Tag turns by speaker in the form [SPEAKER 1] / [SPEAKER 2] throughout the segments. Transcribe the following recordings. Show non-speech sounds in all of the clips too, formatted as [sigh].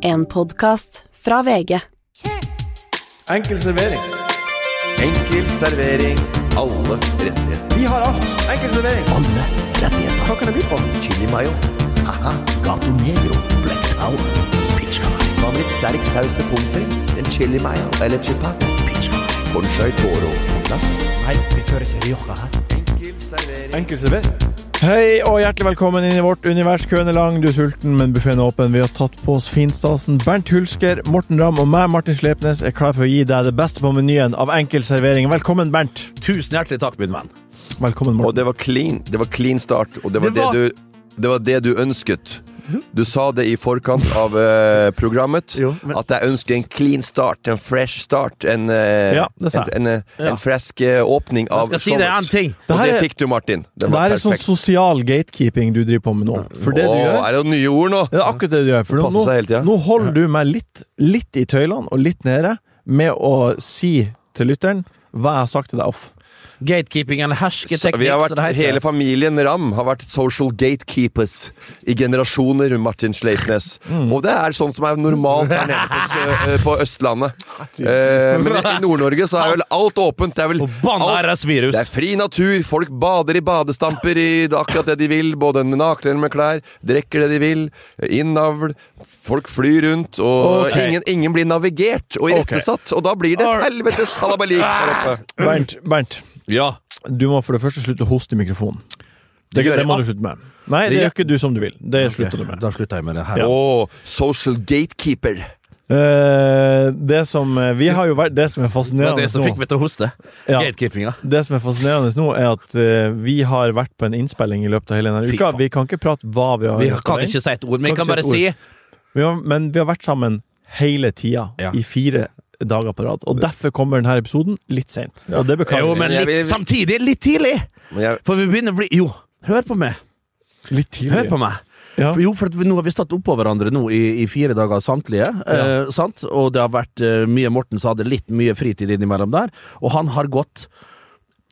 [SPEAKER 1] En podkast fra VG.
[SPEAKER 2] Enkel servering.
[SPEAKER 3] Enkel servering. Alle rettigheter.
[SPEAKER 2] Vi har alt. Enkel servering.
[SPEAKER 4] Alle rettigheter.
[SPEAKER 2] Hva kan det by på?
[SPEAKER 3] Chili mayo. Haha.
[SPEAKER 4] Gato Negro, Black Tower, Pizza Night,
[SPEAKER 3] Hva med litt sterk saus til pommes frites? En chili mayo eller chipat?
[SPEAKER 4] Pizza Night.
[SPEAKER 3] Bonchai toro på plass.
[SPEAKER 4] Nei, vi fører ikke Rioja her.
[SPEAKER 3] Enkel servering.
[SPEAKER 2] Enkel servering. Hei og hjertelig velkommen inn i vårt univers. Køen er lang, du er sulten, men buffeen er åpen. Vi har tatt på oss finstasen. Bernt Hulsker, Morten Ramm og meg, Martin Slepnes, er klar for å gi deg det beste på menyen av enkel servering. Velkommen, Bernt.
[SPEAKER 5] Tusen hjertelig takk, min venn.
[SPEAKER 2] Velkommen,
[SPEAKER 3] Og
[SPEAKER 2] Morten.
[SPEAKER 3] det var clean. Det var clean start, og det var
[SPEAKER 5] Det
[SPEAKER 3] det,
[SPEAKER 5] var-
[SPEAKER 3] du det var det du ønsket. Du sa det i forkant av eh, programmet,
[SPEAKER 5] Jo, men-
[SPEAKER 3] at jeg ønsker en clean start, en fresh start, en, eh,
[SPEAKER 2] Ja, det sa jeg.
[SPEAKER 3] en, en, eh,
[SPEAKER 5] Ja.
[SPEAKER 3] en fresk eh, åpning av
[SPEAKER 5] Jeg skal si deg en ting.
[SPEAKER 3] Og
[SPEAKER 2] Det her
[SPEAKER 3] det
[SPEAKER 2] er-
[SPEAKER 3] fikk du, Martin. Det
[SPEAKER 2] Det
[SPEAKER 3] var
[SPEAKER 2] her er sånn
[SPEAKER 3] perfekt.
[SPEAKER 2] sosial gatekeeping du driver på med nå. For det du
[SPEAKER 3] Åh,
[SPEAKER 2] gjør
[SPEAKER 3] er det nye ord nå?
[SPEAKER 2] Det er akkurat det du gjør. For nå,
[SPEAKER 3] Passer seg hele
[SPEAKER 2] nå,
[SPEAKER 3] tiden.
[SPEAKER 2] nå holder du meg litt, litt i tøylene og litt nede med å si til lytteren hva jeg har sagt til deg off.
[SPEAKER 5] Gatekeeping eller
[SPEAKER 3] Så
[SPEAKER 5] hersketeknikk,
[SPEAKER 3] Vi har
[SPEAKER 5] som
[SPEAKER 3] vært,
[SPEAKER 5] det heter.
[SPEAKER 3] hele familien Ram har vært social gatekeepers i generasjoner, Martin Sleipnes.
[SPEAKER 2] Mm.
[SPEAKER 3] Og det er sånn som er normalt her nede på,
[SPEAKER 2] [laughs]
[SPEAKER 3] Sø- eh, på Østlandet. Eh, men i Nord-Norge så er vel alt åpent. Det er vel
[SPEAKER 5] Og banna
[SPEAKER 3] alt,
[SPEAKER 5] RS-virus.
[SPEAKER 3] det er fri natur. Folk bader i badestamper i akkurat det de vil. Både med nakne eller med klær. Drikker det de vil. Innavl. Folk flyr rundt. Og
[SPEAKER 2] Ok.
[SPEAKER 3] ingen, ingen blir navigert og irettesatt. Og da blir det et helvetes halabalik her oppe.
[SPEAKER 2] Bernt, Bernt,
[SPEAKER 5] Ja.
[SPEAKER 2] du må for det første slutte å hoste i mikrofonen. Det,
[SPEAKER 5] gjør
[SPEAKER 2] det
[SPEAKER 5] jeg.
[SPEAKER 2] må du slutte med. Nei, det gjør ikke du som du vil. Det slutter du med.
[SPEAKER 5] Da slutter jeg med det her.
[SPEAKER 3] Å, social gatekeeper.
[SPEAKER 2] Eh, det som eh, Vi har jo vært Det som er
[SPEAKER 5] Det var
[SPEAKER 2] fascinerende
[SPEAKER 5] det som fikk
[SPEAKER 2] nå,
[SPEAKER 5] meg til å hoste.
[SPEAKER 2] Ja.
[SPEAKER 5] Gatekeepinga.
[SPEAKER 2] det som er fascinerende nå, er at eh, vi har vært på en innspilling i løpet av hele denne
[SPEAKER 5] Fy
[SPEAKER 2] uka.
[SPEAKER 5] faen.
[SPEAKER 2] Vi kan ikke prate hva vi har
[SPEAKER 5] Vi
[SPEAKER 2] gjort av
[SPEAKER 5] kan
[SPEAKER 2] den.
[SPEAKER 5] ikke si et ord, men jeg
[SPEAKER 2] Kan
[SPEAKER 5] kan
[SPEAKER 2] ikke
[SPEAKER 5] bare
[SPEAKER 2] si
[SPEAKER 5] si
[SPEAKER 2] Vi har, men vi har vært sammen hele tida
[SPEAKER 5] Ja.
[SPEAKER 2] i fire dager på rad. Og derfor kommer denne episoden litt seint. Og det
[SPEAKER 5] Jo,
[SPEAKER 2] beklager
[SPEAKER 5] men
[SPEAKER 3] Jeg
[SPEAKER 5] litt
[SPEAKER 3] vil-
[SPEAKER 5] samtidig. Litt tidlig!
[SPEAKER 3] Men jeg,
[SPEAKER 5] For vi begynner å bli Jo, hør på meg.
[SPEAKER 2] vi. Litt tidlig.
[SPEAKER 5] Hør på meg.
[SPEAKER 2] Ja.
[SPEAKER 5] For jo, for at vi- nå har vi stått oppå hverandre nå i, i fire dager samtlige. Eh, sant? Og det har vært eh, mye Morten som hadde litt mye fritid innimellom der. Og han har gått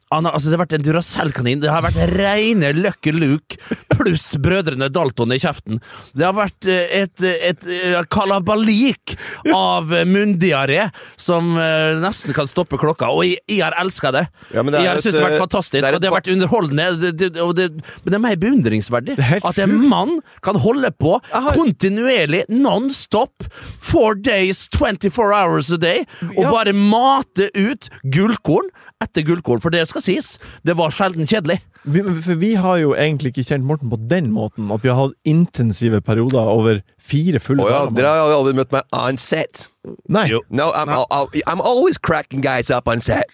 [SPEAKER 5] han har, altså Det har vært en Duracell-kanin. Det har vært reine Lucky Luke pluss brødrene Dalton i kjeften. Det har vært eh, et, et, eh, kalabalik av eh, munndiaré som eh, nesten kan stoppe klokka. Og jeg, jeg har elska det.
[SPEAKER 3] Ja, men det er
[SPEAKER 5] jeg har
[SPEAKER 3] et,
[SPEAKER 5] syntes det har vært
[SPEAKER 3] eh, det
[SPEAKER 5] fantastisk,
[SPEAKER 3] er et
[SPEAKER 5] og det har
[SPEAKER 3] ba-
[SPEAKER 5] vært underholdende. Det, det, og det, men det er mer beundringsverdig
[SPEAKER 2] er helt
[SPEAKER 5] at en mann kan holde på kontinuerlig, non stop, four days, 24 hours a day, og
[SPEAKER 2] Ja.
[SPEAKER 5] bare mate ut gullkorn etter gullkorn. For det skal sies, det var sjelden kjedelig.
[SPEAKER 2] Vi, men for vi har jo egentlig ikke kjent Morten på den måten at vi har hatt intensive perioder over fire fulle
[SPEAKER 3] Å ja, dere
[SPEAKER 2] dager.
[SPEAKER 3] har aldri møtt meg on set.
[SPEAKER 2] mann. Nei.
[SPEAKER 5] Jo.
[SPEAKER 3] No, I'm, I'll, I'll, I'm always cracking guys up on set.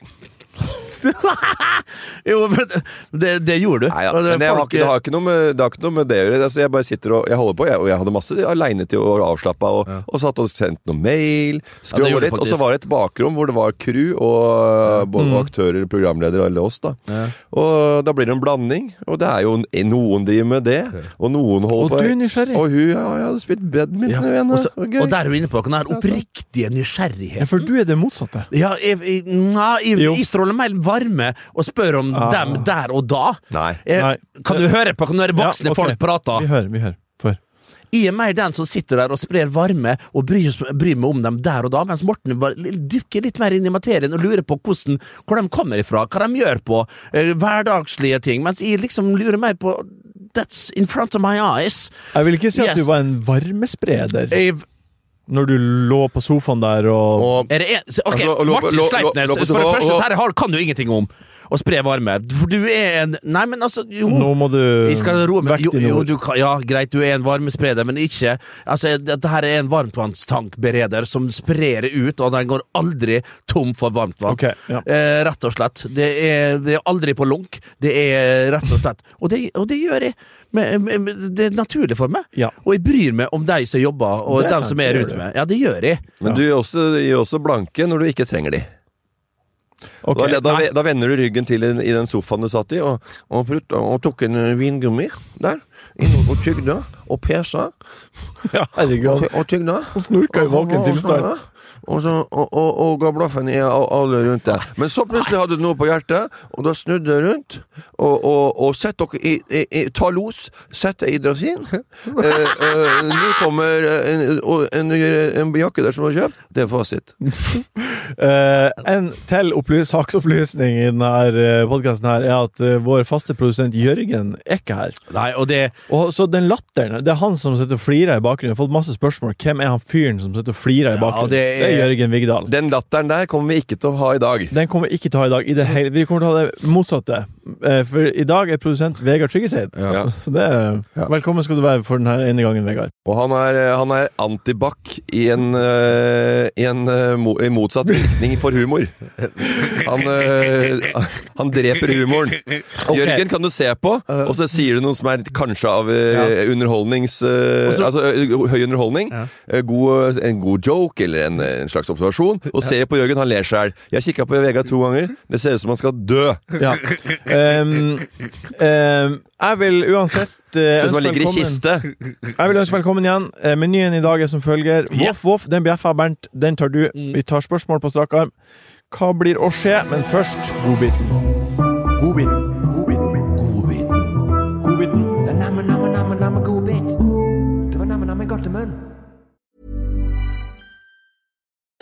[SPEAKER 5] Jo, men det, det gjorde du.
[SPEAKER 3] Nei, ja.
[SPEAKER 5] Og det-
[SPEAKER 3] Men jeg har
[SPEAKER 5] folk-
[SPEAKER 3] ikke, det, har ikke noe med, det har ikke noe med det å gjøre. Altså, jeg bare sitter og jeg holder på, jeg, og jeg hadde masse aleinetid og avslappa, og, og satt og sendt noe mail.
[SPEAKER 5] det
[SPEAKER 3] Skrolla
[SPEAKER 5] gjorde du
[SPEAKER 3] litt. Og så
[SPEAKER 5] faktisk. Mm.
[SPEAKER 3] var det et bakrom hvor det var crew og både aktører, programleder og alle oss. da Og da blir det en blanding. Og det er jo noen driver med det, og noen
[SPEAKER 2] Og
[SPEAKER 3] holder på
[SPEAKER 2] du er nysgjerrig.
[SPEAKER 3] Og hun ja, jeg hadde spilt badminton,
[SPEAKER 5] ja.
[SPEAKER 3] hun ene.
[SPEAKER 5] og, så,
[SPEAKER 3] Det var gøy.
[SPEAKER 5] og der er vi inne på den her oppriktige nysgjerrigheten.
[SPEAKER 2] Ja, for du er det motsatte.
[SPEAKER 5] Ja, jeg, jeg, nei, jeg,
[SPEAKER 2] Jo.
[SPEAKER 5] jeg stråler mer varme og spør om
[SPEAKER 2] Ah.
[SPEAKER 5] dem der og da.
[SPEAKER 3] Nei.
[SPEAKER 5] Jeg,
[SPEAKER 2] Nei.
[SPEAKER 5] Eh, Kan du høre på? Kan du høre voksne
[SPEAKER 2] Ja, ok.
[SPEAKER 5] folk prate?
[SPEAKER 2] Vi hører, vi hører. Før.
[SPEAKER 5] Jeg er mer den som sitter der og sprer varme og bryr, bryr meg om dem der og da, mens Morten bare l- dykker litt mer inn i materien og lurer på hvordan, hvor de kommer ifra, hva de gjør på, eh, hverdagslige ting, mens jeg liksom lurer mer på That's in front of my eyes.
[SPEAKER 2] Jeg vil ikke si at
[SPEAKER 5] Yes.
[SPEAKER 2] du var en varmespreder
[SPEAKER 5] Jeg,
[SPEAKER 2] når du lå på sofaen der og,
[SPEAKER 3] Og
[SPEAKER 5] er det en, ok,
[SPEAKER 3] Altså, og lå-
[SPEAKER 5] Martin
[SPEAKER 3] lå- lå- lå på
[SPEAKER 5] Sleipnes, for det
[SPEAKER 3] sofa-
[SPEAKER 5] første,
[SPEAKER 3] og-
[SPEAKER 5] dette her kan du ingenting om. Å spre varme. For du er en Nei, men altså jo.
[SPEAKER 2] Nå må du
[SPEAKER 5] Jeg skal roe meg.
[SPEAKER 2] vekk
[SPEAKER 5] Jo,
[SPEAKER 2] dine
[SPEAKER 5] jo,
[SPEAKER 2] ord.
[SPEAKER 5] du kan, ja, greit, du er en varmespreder, men ikke Altså, dette her er en varmtvannstankbereder som sprer ut, og den går aldri tom for varmtvann.
[SPEAKER 2] Ok, ja.
[SPEAKER 5] eh, rett og slett. Det er, det er aldri på lunk. Det er rett og slett Og det, og det gjør jeg. Men, men, men det er naturlig for meg.
[SPEAKER 2] Ja.
[SPEAKER 5] Og jeg bryr meg om de som jobber, og
[SPEAKER 2] Det er
[SPEAKER 5] de
[SPEAKER 2] sant,
[SPEAKER 5] som
[SPEAKER 2] det
[SPEAKER 5] er
[SPEAKER 2] gjør
[SPEAKER 5] rundt
[SPEAKER 2] du.
[SPEAKER 5] meg. Ja, det gjør jeg.
[SPEAKER 3] Men du gir også, gir også blanke når du ikke trenger de.
[SPEAKER 2] Ok.
[SPEAKER 3] Da, da,
[SPEAKER 5] nei.
[SPEAKER 3] da vender du ryggen til den, i den sofaen du satt i, og, og, prutt, og tok en vingummi der. Inn og tygde og pesa
[SPEAKER 2] Ja, herregud.
[SPEAKER 3] og tygda.
[SPEAKER 2] Han snorka i våken tilstand.
[SPEAKER 3] og, så, og, og, og ga blaffen i a- alle rundt deg. Men så plutselig hadde du noe på hjertet, og da snudde jeg rundt. Og, og, og sett dere i, i, i Ta los, sett deg i
[SPEAKER 2] [laughs]
[SPEAKER 3] drasin. Eh, eh, Nå kommer eh, en, og en, en jakke der som du har kjøpt. Det er fasit.
[SPEAKER 2] [laughs] Eh, en til opplys, saksopplysning i denne podkasten her er at eh, vår faste produsent Jørgen er ikke her.
[SPEAKER 5] Nei, og det
[SPEAKER 2] Og så den latteren Det er han som sitter og flirer i bakgrunnen. Jeg har fått masse spørsmål. Hvem er han fyren som sitter og flirer i bakgrunnen?
[SPEAKER 5] det
[SPEAKER 2] det,
[SPEAKER 5] er-
[SPEAKER 2] er... Jørgen Vigdal.
[SPEAKER 3] Den latteren der kommer vi ikke til å ha i dag.
[SPEAKER 2] Den kommer vi ikke til å ha i dag. I det hele. Vi kommer til å ha det motsatte. Eh, For i dag er produsent Vegard Tryggeseid.
[SPEAKER 3] Ja.
[SPEAKER 2] Så det er,
[SPEAKER 3] Ja.
[SPEAKER 2] Velkommen skal du være for denne ene gangen, Vegard.
[SPEAKER 3] Og han er, eh, han er antibac i en, eh, i en eh, mo- i motsatt virkning for humor. Han, eh, han dreper humoren. Jørgen kan du se på, og så sier du noe som er kanskje av eh, underholdnings... eh, altså eh, høy underholdning. Eh, God, en god joke eller en, eh, en slags observasjon. Og ser på Jørgen, han ler sjæl. Jeg kikka på Vegard to ganger. Det ser ut som han skal dø.
[SPEAKER 2] Ja. Ehm, ehm, jeg vil uansett eh,
[SPEAKER 3] Ser ut som han
[SPEAKER 2] ønske
[SPEAKER 3] ligger i
[SPEAKER 2] velkommen-
[SPEAKER 3] kiste.
[SPEAKER 2] Jeg vil ønske velkommen igjen. Eh, Menyen i dag er som følger. Voff, voff, den bjeffa, Bernt. Den tar du.
[SPEAKER 5] Mm.
[SPEAKER 2] Vi tar spørsmål på strak arm. Hva blir å skje? Men først godbiten. Godbiten. Godbiten. Godbiten.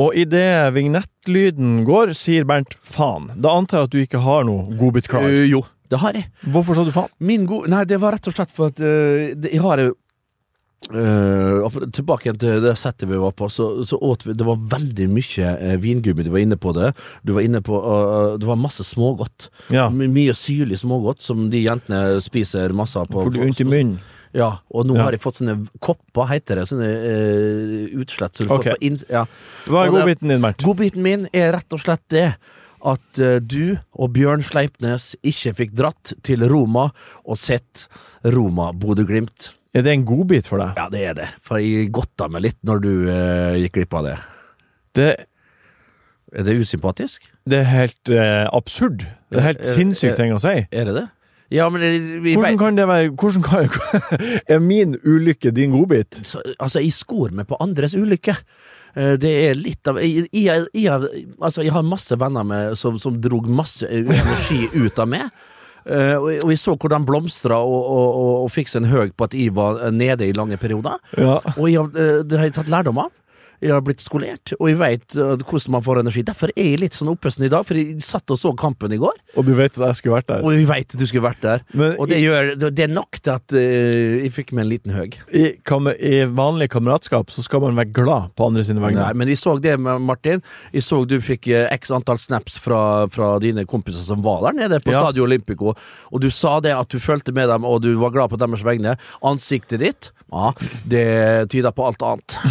[SPEAKER 2] Og idet vignettlyden går, sier Bernt faen. Da antar jeg at du ikke har noe godbit klar.
[SPEAKER 5] Eh, Jo, det har jeg.
[SPEAKER 2] Hvorfor sa du faen?
[SPEAKER 5] Min gode Nei, det var rett og slett for at eh, det, Jeg har eh, eh, for- Tilbake igjen til det settet vi var på, så, så åt vi Det var veldig mye eh, vingummi. Du var inne på det. Du var inne på eh, Det var masse smågodt.
[SPEAKER 2] Ja.
[SPEAKER 5] My- Mye syrlig smågodt som de jentene spiser masse av. på-
[SPEAKER 2] Får du vondt i munnen?
[SPEAKER 5] Ja, og nå
[SPEAKER 2] Ja.
[SPEAKER 5] har jeg fått sånne kopper, heter det. Sånne eh, utslett. Så du
[SPEAKER 2] Ok.
[SPEAKER 5] får på inns... Ja.
[SPEAKER 2] Hva er
[SPEAKER 5] Og det-
[SPEAKER 2] godbiten din, Bernt?
[SPEAKER 5] Godbiten min er rett og slett det at eh, du og Bjørn Sleipnes ikke fikk dratt til Roma og sett Roma-Bodø-Glimt.
[SPEAKER 2] Er det en godbit for deg?
[SPEAKER 5] Ja, det er det, for jeg godta meg litt når du eh, gikk glipp av det.
[SPEAKER 2] Det,
[SPEAKER 5] Er det usympatisk?
[SPEAKER 2] det er helt eh, absurd. Det er helt
[SPEAKER 5] Eh, eh,
[SPEAKER 2] sinnssykt ting å si.
[SPEAKER 5] Er det det? Ja, men eh, vi
[SPEAKER 2] Hvordan
[SPEAKER 5] vet-
[SPEAKER 2] kan det være Hvordan kan, [laughs] Er min ulykke din godbit?
[SPEAKER 5] så, Altså, jeg skor meg på andres ulykke. Eh, Det er litt av Jeg, jeg, jeg, har- altså, jeg har masse venner med, som, som drog masse energi ut av meg. Eh, og, og jeg så hvordan blomstra og, og, og, og fikk seg en høg på at jeg var eh, nede i lange perioder.
[SPEAKER 2] Ja.
[SPEAKER 5] Og jeg, har- eh, det har jeg tatt lærdom av. Jeg har blitt skolert, og jeg veit hvordan man får energi. Derfor er jeg litt sånn oppøsten i dag, for jeg satt og så kampen i går,
[SPEAKER 2] Og du vet at jeg skulle vært der.
[SPEAKER 5] og jeg veit du skulle vært der.
[SPEAKER 2] Men
[SPEAKER 5] og det, gjør, det, det er nok til at eh, jeg fikk meg en liten høg.
[SPEAKER 2] I, kam- I vanlig kameratskap så skal man være glad på andre sine vegne.
[SPEAKER 5] Nei, men jeg så det, Martin. Jeg så du fikk eh, x antall snaps fra, fra dine kompiser som var der nede på
[SPEAKER 2] Ja.
[SPEAKER 5] Stadio Olympico. Og du sa det at du følte med dem, og du var glad på deres vegne. Ansiktet ditt, ja, det tyder på alt annet.
[SPEAKER 2] [laughs]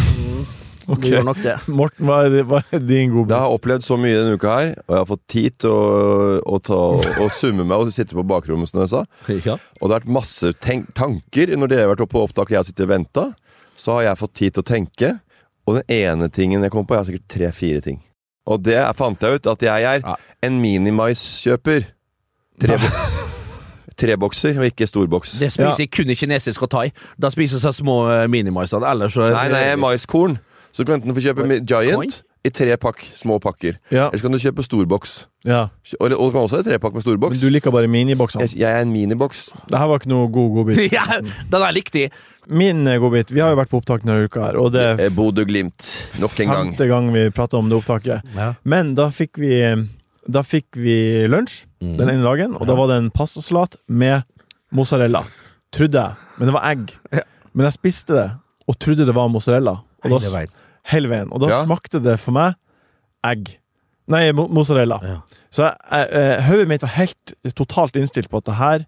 [SPEAKER 2] Ok.
[SPEAKER 5] Det gjør nok det.
[SPEAKER 2] Morten, hva er, det- hva er din godbit?
[SPEAKER 3] Jeg har opplevd så mye denne uka her, og jeg har fått tid til å, å, ta, å summe meg og sitte på bakrommet, som jeg sa. Og det har vært masse tenk tanker. Når dere har vært oppe på opptak og jeg har sittet og venta, så har jeg fått tid til å tenke. Og den ene tingen jeg kom på, jeg har sikkert tre-fire ting. Og det er- fant jeg ut, at jeg er
[SPEAKER 5] Ja.
[SPEAKER 3] en minimaiskjøper. Tre Trebokser, og ikke storboks.
[SPEAKER 5] Det spiser jeg kun i kinesisk og thai. Da spiser jeg så små eh, minimaiser. Ellers så
[SPEAKER 3] Nei, nei, maiskorn. Så du kan enten få kjøpe mi- Giant
[SPEAKER 5] Coin?
[SPEAKER 3] i tre pakk, små pakker.
[SPEAKER 2] Ja.
[SPEAKER 3] Eller så kan du kjøpe storboks.
[SPEAKER 2] ja.
[SPEAKER 3] Eller- Og du kan også ha trepakk med
[SPEAKER 2] Men
[SPEAKER 3] storboks.
[SPEAKER 2] du liker bare miniboksene.
[SPEAKER 3] Jeg, jeg er en miniboks.
[SPEAKER 2] Det her var ikke noe god godbit.
[SPEAKER 5] [laughs] ja, den er likte jeg!
[SPEAKER 2] Min eh, godbit Vi har jo vært på opptak denne uka, her og det er
[SPEAKER 3] Eh, Bodø-Glimt. Nok en gang.
[SPEAKER 2] femte gang vi prater om det opptaket.
[SPEAKER 5] Ja.
[SPEAKER 2] Men da fikk vi Da fikk vi lunsj den ene dagen, og da var det en pastasalat med mozzarella. Trodde jeg. Men det var egg.
[SPEAKER 5] Ja.
[SPEAKER 2] Men jeg spiste det, og trodde det var mozzarella. Og
[SPEAKER 5] Hele
[SPEAKER 2] da,
[SPEAKER 5] veien.
[SPEAKER 2] hele veien. Og da
[SPEAKER 3] Ja.
[SPEAKER 2] smakte det for meg egg. Nei, mo- mozzarella.
[SPEAKER 5] Ja.
[SPEAKER 2] Så jeg- jeg- eh, hodet mitt var helt totalt innstilt på at det her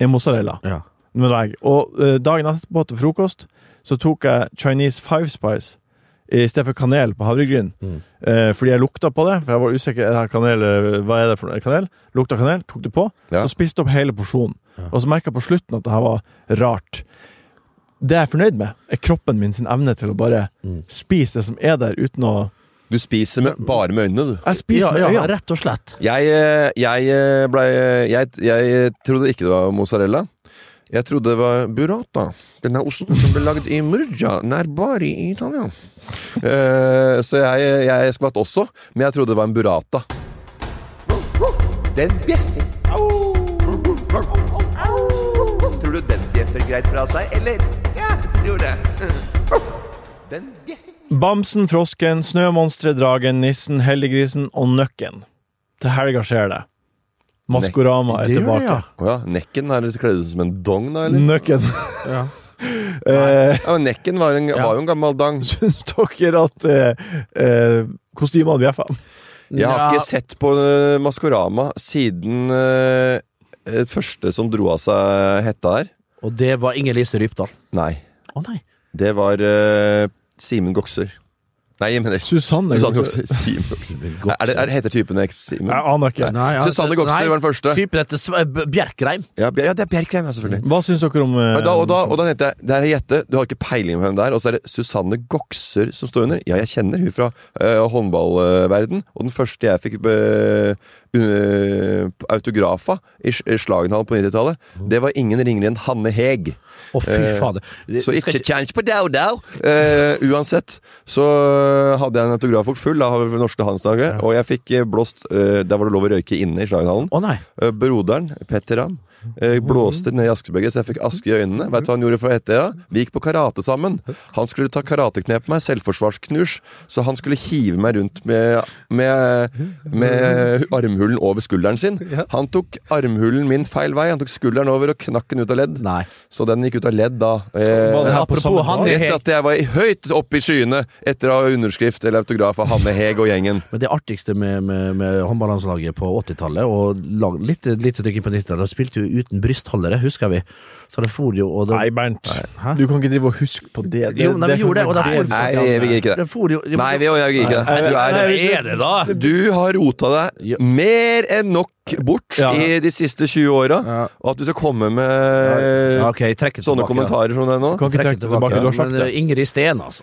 [SPEAKER 2] er mozzarella.
[SPEAKER 5] Ja.
[SPEAKER 2] med deg. Og eh, dagen etterpå til frokost så tok jeg Chinese Five Spice i stedet for kanel på havregryn.
[SPEAKER 5] Mm.
[SPEAKER 2] Eh, fordi jeg lukta på det, for jeg var usikker. Er det her kanel, eller hva er det for noe? kanel? Lukta kanel, tok det på.
[SPEAKER 3] Ja.
[SPEAKER 2] Så spiste jeg opp hele porsjonen. Og så merka jeg på slutten at det her var rart. Det jeg er fornøyd med, er kroppen min sin evne til å bare
[SPEAKER 5] Mm.
[SPEAKER 2] spise det som er der, uten å
[SPEAKER 3] Du spiser med, bare med øynene, du.
[SPEAKER 2] Jeg
[SPEAKER 5] Ja,
[SPEAKER 2] spiser med
[SPEAKER 5] ja,
[SPEAKER 2] øynene.
[SPEAKER 5] rett og slett.
[SPEAKER 3] Jeg, eh, jeg eh, ble eh, jeg, jeg trodde ikke det var mozzarella. Jeg trodde det var burrata. Denne osten som ble lagd i Murgia, nær Bari i Italia. Eh, så jeg, jeg skvatt også, men jeg trodde det var en burrata. Den bjeffer. Tror du den bjeffer greit fra seg, eller? Ja, jeg tror det. Den bjeffer.
[SPEAKER 2] Bamsen, frosken, snømonsteret, dragen, nissen, heldiggrisen og nøkken. Til helga skjer det. Maskorama er
[SPEAKER 5] Det gjør
[SPEAKER 2] tilbake.
[SPEAKER 5] det, ja.
[SPEAKER 3] Å ja, nekken er litt kledd ut som en dong, da, eller?
[SPEAKER 2] Nøkken.
[SPEAKER 5] [laughs] Ja.
[SPEAKER 2] [laughs] Eh,
[SPEAKER 3] Ja, men nekken var, en, var jo en gammel dang.
[SPEAKER 2] Syns dere at eh, eh, kostymene bjeffa?
[SPEAKER 3] Jeg har
[SPEAKER 5] Ja.
[SPEAKER 3] ikke sett på eh, Maskorama siden eh, eh, første som dro av seg hetta her.
[SPEAKER 5] Og det var Inger Lise Rypdal.
[SPEAKER 3] Nei.
[SPEAKER 5] Å nei.
[SPEAKER 3] Det var eh, Simen Gokser. Nei, jeg mener
[SPEAKER 2] Susanne?
[SPEAKER 3] Susanne Gokser. Simen Gokser. Nei, Er det, er, heter typen X Simen?
[SPEAKER 2] Jeg aner ikke.
[SPEAKER 5] Nei, ja.
[SPEAKER 3] Susanne Gokser
[SPEAKER 5] Nei,
[SPEAKER 3] var den første.
[SPEAKER 5] Typen etter Sve- B- Bjerkreim.
[SPEAKER 3] Ja, Bjer- ja det er Bjerkreim, ja, selvfølgelig.
[SPEAKER 2] Hva syns dere om eh,
[SPEAKER 3] Men Da, og, da, og da tenkte jeg Det er Jette, du har ikke peiling på hvem det er. Og så er det Susanne Gokser som står under. Ja, jeg kjenner hun fra uh, håndballverden Og den første jeg fikk eh, eh, autograf av i, s- i Slagenhallen på 90-tallet, det var ingen ringere enn Hanne Heg.
[SPEAKER 5] Å, fy
[SPEAKER 3] Eh,
[SPEAKER 5] fader.
[SPEAKER 3] Så
[SPEAKER 5] Skal
[SPEAKER 3] ikke kjangs på dau, dau! Eh, uansett så eh, hadde jeg en autografbok full av Norske Handelsdager, og jeg fikk eh, blåst eh, Der var det lov å røyke inne i Slagenhallen.
[SPEAKER 5] Å nei.
[SPEAKER 3] Eh, Broderen, Petter Ram, eh, blåste ned i askebeget, så jeg fikk aske i øynene. Vet du hva han gjorde for å hete det? da? Vi gikk på karate sammen. Han skulle ta karateknep på meg, selvforsvarsknusj, så han skulle hive meg rundt med, med, med armhulen over skulderen sin. Han tok armhulen min feil vei, han tok skulderen over og knakk den ut av ledd.
[SPEAKER 5] Nei.
[SPEAKER 3] Så den gikk ut av ledd da.
[SPEAKER 2] Var det
[SPEAKER 3] Eh,
[SPEAKER 2] her på
[SPEAKER 5] Apropos
[SPEAKER 2] samme
[SPEAKER 5] han-
[SPEAKER 2] dag?
[SPEAKER 3] Rett at jeg var i- høyt oppe i skyene etter å ha underskrift eller autograf av Hanne Heg og gjengen.
[SPEAKER 5] Men det artigste med, med, med håndballandslaget på 80-tallet, og lang, litt, litt stykke på 90-tallet, de spilte jo uten brystholdere, husker vi. Så det for jo og det,
[SPEAKER 2] Nei, Bernt.
[SPEAKER 5] Hæ?
[SPEAKER 2] Du kan ikke drive og huske på det.
[SPEAKER 5] Jo, nei, vi gjorde det, og da får
[SPEAKER 3] Nei, jeg vil ikke det.
[SPEAKER 5] det for jo
[SPEAKER 3] Nei, vi jeg vil ikke det. Du
[SPEAKER 5] Hva
[SPEAKER 3] er
[SPEAKER 5] er det, da?
[SPEAKER 3] Du har rota
[SPEAKER 5] Ja.
[SPEAKER 3] deg mer enn nok bort
[SPEAKER 2] Ja.
[SPEAKER 3] i de siste 20 åra.
[SPEAKER 5] Ja.
[SPEAKER 3] Og at du skal komme med
[SPEAKER 5] Ja, ok, trekk det
[SPEAKER 3] Eh, sånne
[SPEAKER 5] tilbake, da.
[SPEAKER 3] kommentarer som det nå.
[SPEAKER 2] Kan ikke trekke det tilbake, du har sagt
[SPEAKER 5] Men
[SPEAKER 2] det.
[SPEAKER 5] eh, Ingrid Steen, altså.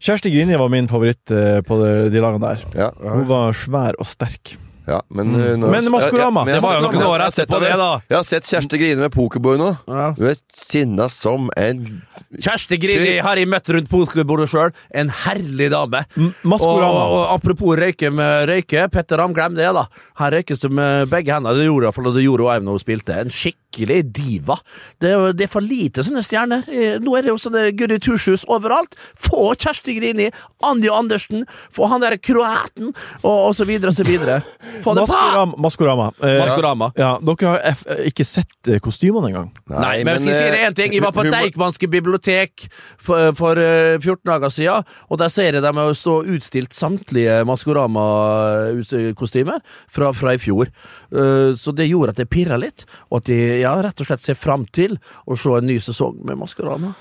[SPEAKER 2] Kjersti Grini var min favoritt eh, på de, de lagene der.
[SPEAKER 3] Ja,
[SPEAKER 2] Hun var svær og sterk.
[SPEAKER 3] ja, men,
[SPEAKER 5] Mm.
[SPEAKER 3] eh, nå-
[SPEAKER 2] Men Maskorama,
[SPEAKER 3] men jeg-
[SPEAKER 2] det var jo noen
[SPEAKER 3] jeg har
[SPEAKER 5] år
[SPEAKER 3] sett
[SPEAKER 5] etterpå
[SPEAKER 3] deg-
[SPEAKER 5] det, da.
[SPEAKER 3] Jeg har sett Kjersti Grine med pokerboy nå.
[SPEAKER 5] Ja.
[SPEAKER 3] Hun er sinna som en
[SPEAKER 5] Kjersti Grini har jeg møtt rundt pokerbordet sjøl. En herlig dame.
[SPEAKER 2] M-
[SPEAKER 5] Og, og,
[SPEAKER 2] Maskorama.
[SPEAKER 5] og apropos røyke med røyke, Petter Ramm, glem det, da. Her røykes det med eh, begge hendene. Det gjorde i hvert fall, og det gjorde hun når hun spilte. En skikkelig diva. Det, er jo- det er for lite sånne stjerner. Eh, Nå er det jo sånne Guri Tushus overalt. Få Kjersti Grini, Anjo Andersen, få han derre kroaten, og, og så videre og så videre. Få det på!
[SPEAKER 2] Maskorama. Maskorama. Eh,
[SPEAKER 5] Maskorama.
[SPEAKER 2] ja, dere har F ikke sett eh, kostymene engang.
[SPEAKER 5] Nei, men, jeg skal si
[SPEAKER 3] eh,
[SPEAKER 5] det en ting. Jeg var på
[SPEAKER 3] hun- hun-
[SPEAKER 5] Deichmanske bibliotek for, for eh, 14 dager siden, og der ser jeg dem å stå utstilt samtlige Maskorama-kostymer fra, fra i fjor. Eh, Så det gjorde at jeg pirra litt, og at jeg ja, rett og slett ser fram til å se en ny sesong med Maskorama.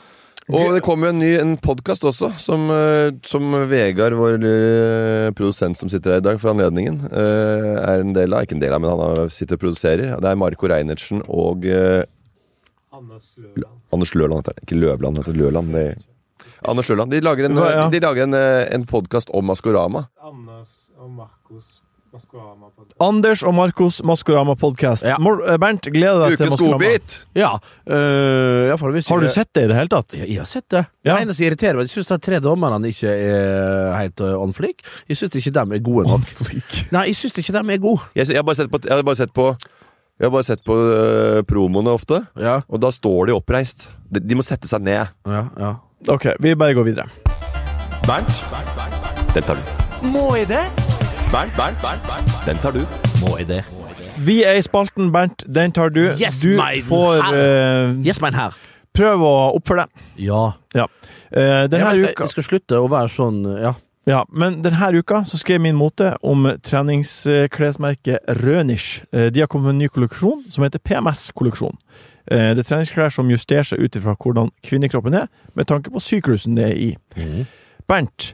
[SPEAKER 3] Og det kommer jo en ny en podkast også, som, eh, som Vegard, vår eh, produsent som sitter her i dag for anledningen, eh, er en del av. Ikke en del av, men han har- sitter og produserer. Det er Marco Reinertsen og eh, Anders Løland. heter han. Ikke Løvland, heter han. Løland. Det, Anders Løland. De lager en,
[SPEAKER 2] Ja, ja.
[SPEAKER 3] de lager en, eh, en podkast om Maskorama.
[SPEAKER 6] Anders og Markus
[SPEAKER 2] Anders og Marcos Maskorama podcast.
[SPEAKER 5] Ja.
[SPEAKER 2] Mor- eh, Bernt, gleder deg til
[SPEAKER 3] Ukens
[SPEAKER 2] Maskorama. eh,
[SPEAKER 3] godbit!
[SPEAKER 5] Ja. øh, ja, for hvis
[SPEAKER 2] Har du
[SPEAKER 5] jeg-
[SPEAKER 2] sett det i det hele tatt?
[SPEAKER 5] Ja, jeg har sett det.
[SPEAKER 2] Ja.
[SPEAKER 5] Det eneste som irriterer meg, jeg syns de tre dommerne ikke er helt øh, on fleek. Jeg syns ikke de er gode nok. Nei, jeg syns ikke de er gode.
[SPEAKER 3] Jeg, jeg, har bare sett på, jeg har bare sett på, jeg har bare sett på øh, promoene ofte,
[SPEAKER 5] Ja,
[SPEAKER 3] og da står de oppreist. De, de må sette seg ned.
[SPEAKER 5] ja, ja.
[SPEAKER 2] Ok, vi bare går videre.
[SPEAKER 3] Bernt, den tar du.
[SPEAKER 5] Må jeg det?
[SPEAKER 3] Bernt, Bernt, Bernt, Bernt. den tar du.
[SPEAKER 5] Må jeg det?
[SPEAKER 2] Vi er i spalten, Bernt. Den tar du.
[SPEAKER 5] Yes,
[SPEAKER 2] du
[SPEAKER 5] mine
[SPEAKER 2] får eh,
[SPEAKER 5] Yes, men her.
[SPEAKER 2] prøve å oppføre deg.
[SPEAKER 5] Ja.
[SPEAKER 2] Ja. Eh, denne
[SPEAKER 5] jeg,
[SPEAKER 2] uka
[SPEAKER 5] skal, jeg skal slutte å være sånn Ja.
[SPEAKER 2] Ja, men denne uka så skrev min mote om treningsklesmerket Rønish. Eh, De har kommet med en ny kolleksjon som heter PMS-kolleksjon. Eh, Det er treningsklær som justerer seg ut ifra hvordan kvinnekroppen er, med tanke på syklusen det er i. Bernt,
[SPEAKER 3] Mhm. Å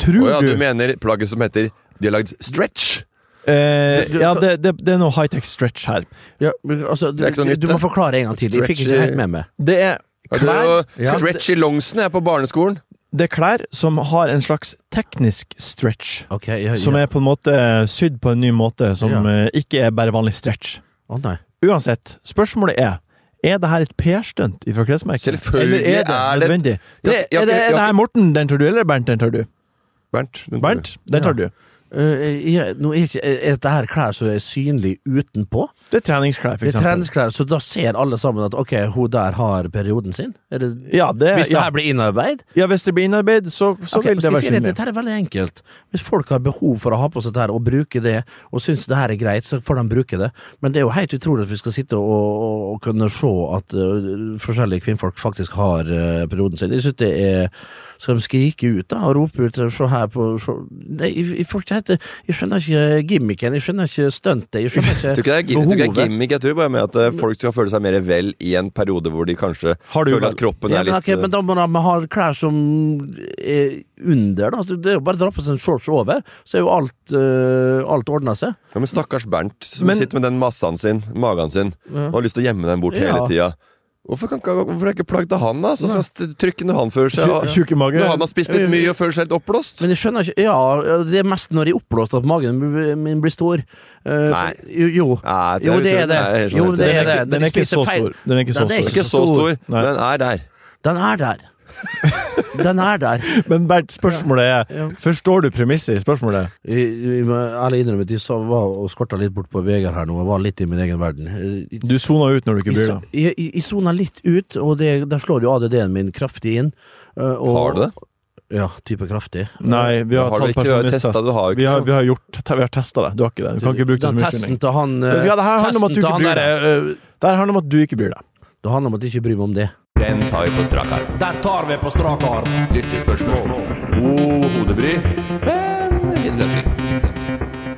[SPEAKER 2] tror
[SPEAKER 3] ja,
[SPEAKER 2] du,
[SPEAKER 3] du mener plagget som heter De har lagd stretch?
[SPEAKER 2] eh,
[SPEAKER 5] Du- du-
[SPEAKER 2] Ja, det, det, det er noe high-tech stretch her.
[SPEAKER 5] ja men, altså, du,
[SPEAKER 3] Det er ikke noe
[SPEAKER 5] du,
[SPEAKER 3] nytt,
[SPEAKER 5] du må
[SPEAKER 3] det.
[SPEAKER 5] forklare en gang til. Jeg fikk ikke
[SPEAKER 3] Stretchy-
[SPEAKER 5] helt med meg.
[SPEAKER 2] Det er
[SPEAKER 3] Ja, det er
[SPEAKER 2] klær,
[SPEAKER 3] jo
[SPEAKER 2] ja, det,
[SPEAKER 3] Stretch i longsene jeg er på barneskolen.
[SPEAKER 2] det er klær som har en slags teknisk stretch.
[SPEAKER 5] Okay, ja,
[SPEAKER 2] Som
[SPEAKER 5] ja.
[SPEAKER 2] er på en måte sydd på en ny måte, som
[SPEAKER 5] Ja.
[SPEAKER 2] eh, ikke er bare vanlig stretch.
[SPEAKER 5] Å nei.
[SPEAKER 2] Uansett, spørsmålet er Er det her et PR-stunt fra klesmerket?
[SPEAKER 3] Selvfølgelig
[SPEAKER 2] Eller er
[SPEAKER 3] er
[SPEAKER 2] det
[SPEAKER 3] det-
[SPEAKER 2] nødvendig?
[SPEAKER 3] Ja,
[SPEAKER 2] Det,
[SPEAKER 3] ja,
[SPEAKER 2] er, det,
[SPEAKER 3] ja,
[SPEAKER 2] er det
[SPEAKER 3] ja.
[SPEAKER 2] her Morten den tar du, eller Bernt den tar du?
[SPEAKER 3] Bernt, den tar du.
[SPEAKER 2] Bernt, den tar du.
[SPEAKER 5] Øh, jeg, nå er, ikke, er dette her klær som er synlig utenpå?
[SPEAKER 2] Det er treningsklær, for
[SPEAKER 5] Det er
[SPEAKER 2] eksempel.
[SPEAKER 5] treningsklær, så da ser alle sammen at ok, hun der har perioden sin? Er det,
[SPEAKER 2] Ja, det,
[SPEAKER 5] hvis det
[SPEAKER 2] ja.
[SPEAKER 5] her blir innarbeid?
[SPEAKER 2] ja, hvis det blir innarbeid, så, så
[SPEAKER 5] Ok,
[SPEAKER 2] vil
[SPEAKER 5] skal
[SPEAKER 2] det
[SPEAKER 5] jeg
[SPEAKER 2] være
[SPEAKER 5] si det,
[SPEAKER 2] synlig.
[SPEAKER 5] dette her er veldig enkelt. Hvis folk har behov for å ha på seg dette her og bruke det, og syns det her er greit, så får de bruke det. Men det er jo helt utrolig at vi skal sitte og, og, og kunne se at øh, forskjellige kvinnfolk faktisk har øh, perioden sin. Jeg synes det er Skal de skrike ut da og rope ut og se her på se. Nei, jeg, jeg, får ikke helt det. jeg skjønner ikke gimmicken, jeg skjønner ikke stuntet,
[SPEAKER 3] [laughs]
[SPEAKER 5] jeg
[SPEAKER 3] Jeg tror ikke
[SPEAKER 5] skjønner
[SPEAKER 3] det er, gi- jeg
[SPEAKER 5] ikke
[SPEAKER 3] tror ikke det er
[SPEAKER 5] behovet.
[SPEAKER 3] gimmick. Jeg tror bare med at eh, folk skal føle seg mer vel i en periode hvor de kanskje
[SPEAKER 2] Har du
[SPEAKER 3] føler
[SPEAKER 2] vel-
[SPEAKER 3] at kroppen
[SPEAKER 5] Ja,
[SPEAKER 3] er
[SPEAKER 5] men,
[SPEAKER 3] litt
[SPEAKER 5] ok, men da må de ha klær som er under, da. Så Det er jo bare å dra på seg en shorts over, så er jo alt, øh, alt ordna seg.
[SPEAKER 3] eh, ja, men stakkars Bernt, som
[SPEAKER 2] Men-
[SPEAKER 3] sitter med den massaen sin, magen sin, og har lyst til å gjemme den bort hele
[SPEAKER 5] Ja.
[SPEAKER 3] tida. Hvorfor, kan, ikke- hvorfor er det ikke plagg til han, da? Sånn som trykke når han føler seg
[SPEAKER 2] Tju- tjuke mage.
[SPEAKER 3] Når han har spist litt mye og føler seg helt oppblåst.
[SPEAKER 5] Men jeg skjønner ikke Ja, det er mest når jeg er oppblåst at magen min blir stor. Eh,
[SPEAKER 3] Nei.
[SPEAKER 5] Jo, jo.
[SPEAKER 3] Nei,
[SPEAKER 5] jo, det er det.
[SPEAKER 3] Nei, jeg skjønner
[SPEAKER 5] Jo,
[SPEAKER 3] ikke.
[SPEAKER 5] det
[SPEAKER 2] Den er
[SPEAKER 5] er det.
[SPEAKER 2] ikke- den er
[SPEAKER 5] Vi
[SPEAKER 2] ikke
[SPEAKER 5] spiser
[SPEAKER 2] så
[SPEAKER 5] feil.
[SPEAKER 2] stor. Den er ikke så
[SPEAKER 5] Nei, det
[SPEAKER 2] stor.
[SPEAKER 3] Ikke så stor,
[SPEAKER 2] Nei.
[SPEAKER 3] men er der.
[SPEAKER 5] Den er der. Den er der.
[SPEAKER 2] Men Bernt, spørsmålet er Forstår du premisset i spørsmålet?
[SPEAKER 5] Jeg, jeg må ærlig innrømme at jeg så- var og skorta litt bort på Vegard her nå. Jeg var litt i min egen verden. Eh,
[SPEAKER 2] Du soner ut når du ikke bryr
[SPEAKER 5] Jeg,
[SPEAKER 2] deg.
[SPEAKER 5] jeg, jeg sona litt ut, og det, der slår jo ADD-en min kraftig inn. eh, og,
[SPEAKER 3] Har du det?
[SPEAKER 5] Ja, type kraftig.
[SPEAKER 2] Nei, vi har,
[SPEAKER 3] Har du
[SPEAKER 2] tatt
[SPEAKER 3] ikke testet?
[SPEAKER 2] personlighetstest.
[SPEAKER 3] Du har jo ikke
[SPEAKER 2] Vi har,
[SPEAKER 3] det.
[SPEAKER 2] vi har, gjort- vi har testa det. Du har ikke det. Du kan ikke bruke det som
[SPEAKER 5] Den testen
[SPEAKER 2] unnskyldning.
[SPEAKER 5] til han eh,
[SPEAKER 2] Vet du hva, det her handler om at du
[SPEAKER 5] testen til
[SPEAKER 2] ikke
[SPEAKER 5] han
[SPEAKER 2] bryr deg.
[SPEAKER 5] derre, eh,
[SPEAKER 2] Det her handler om at du ikke bryr deg.
[SPEAKER 5] Det handler om at jeg ikke bryr meg om det.
[SPEAKER 3] Den tar vi på strak arm.
[SPEAKER 5] Den tar vi på strak arm.
[SPEAKER 3] Lyttespørsmål. God hodebry. Men løsning.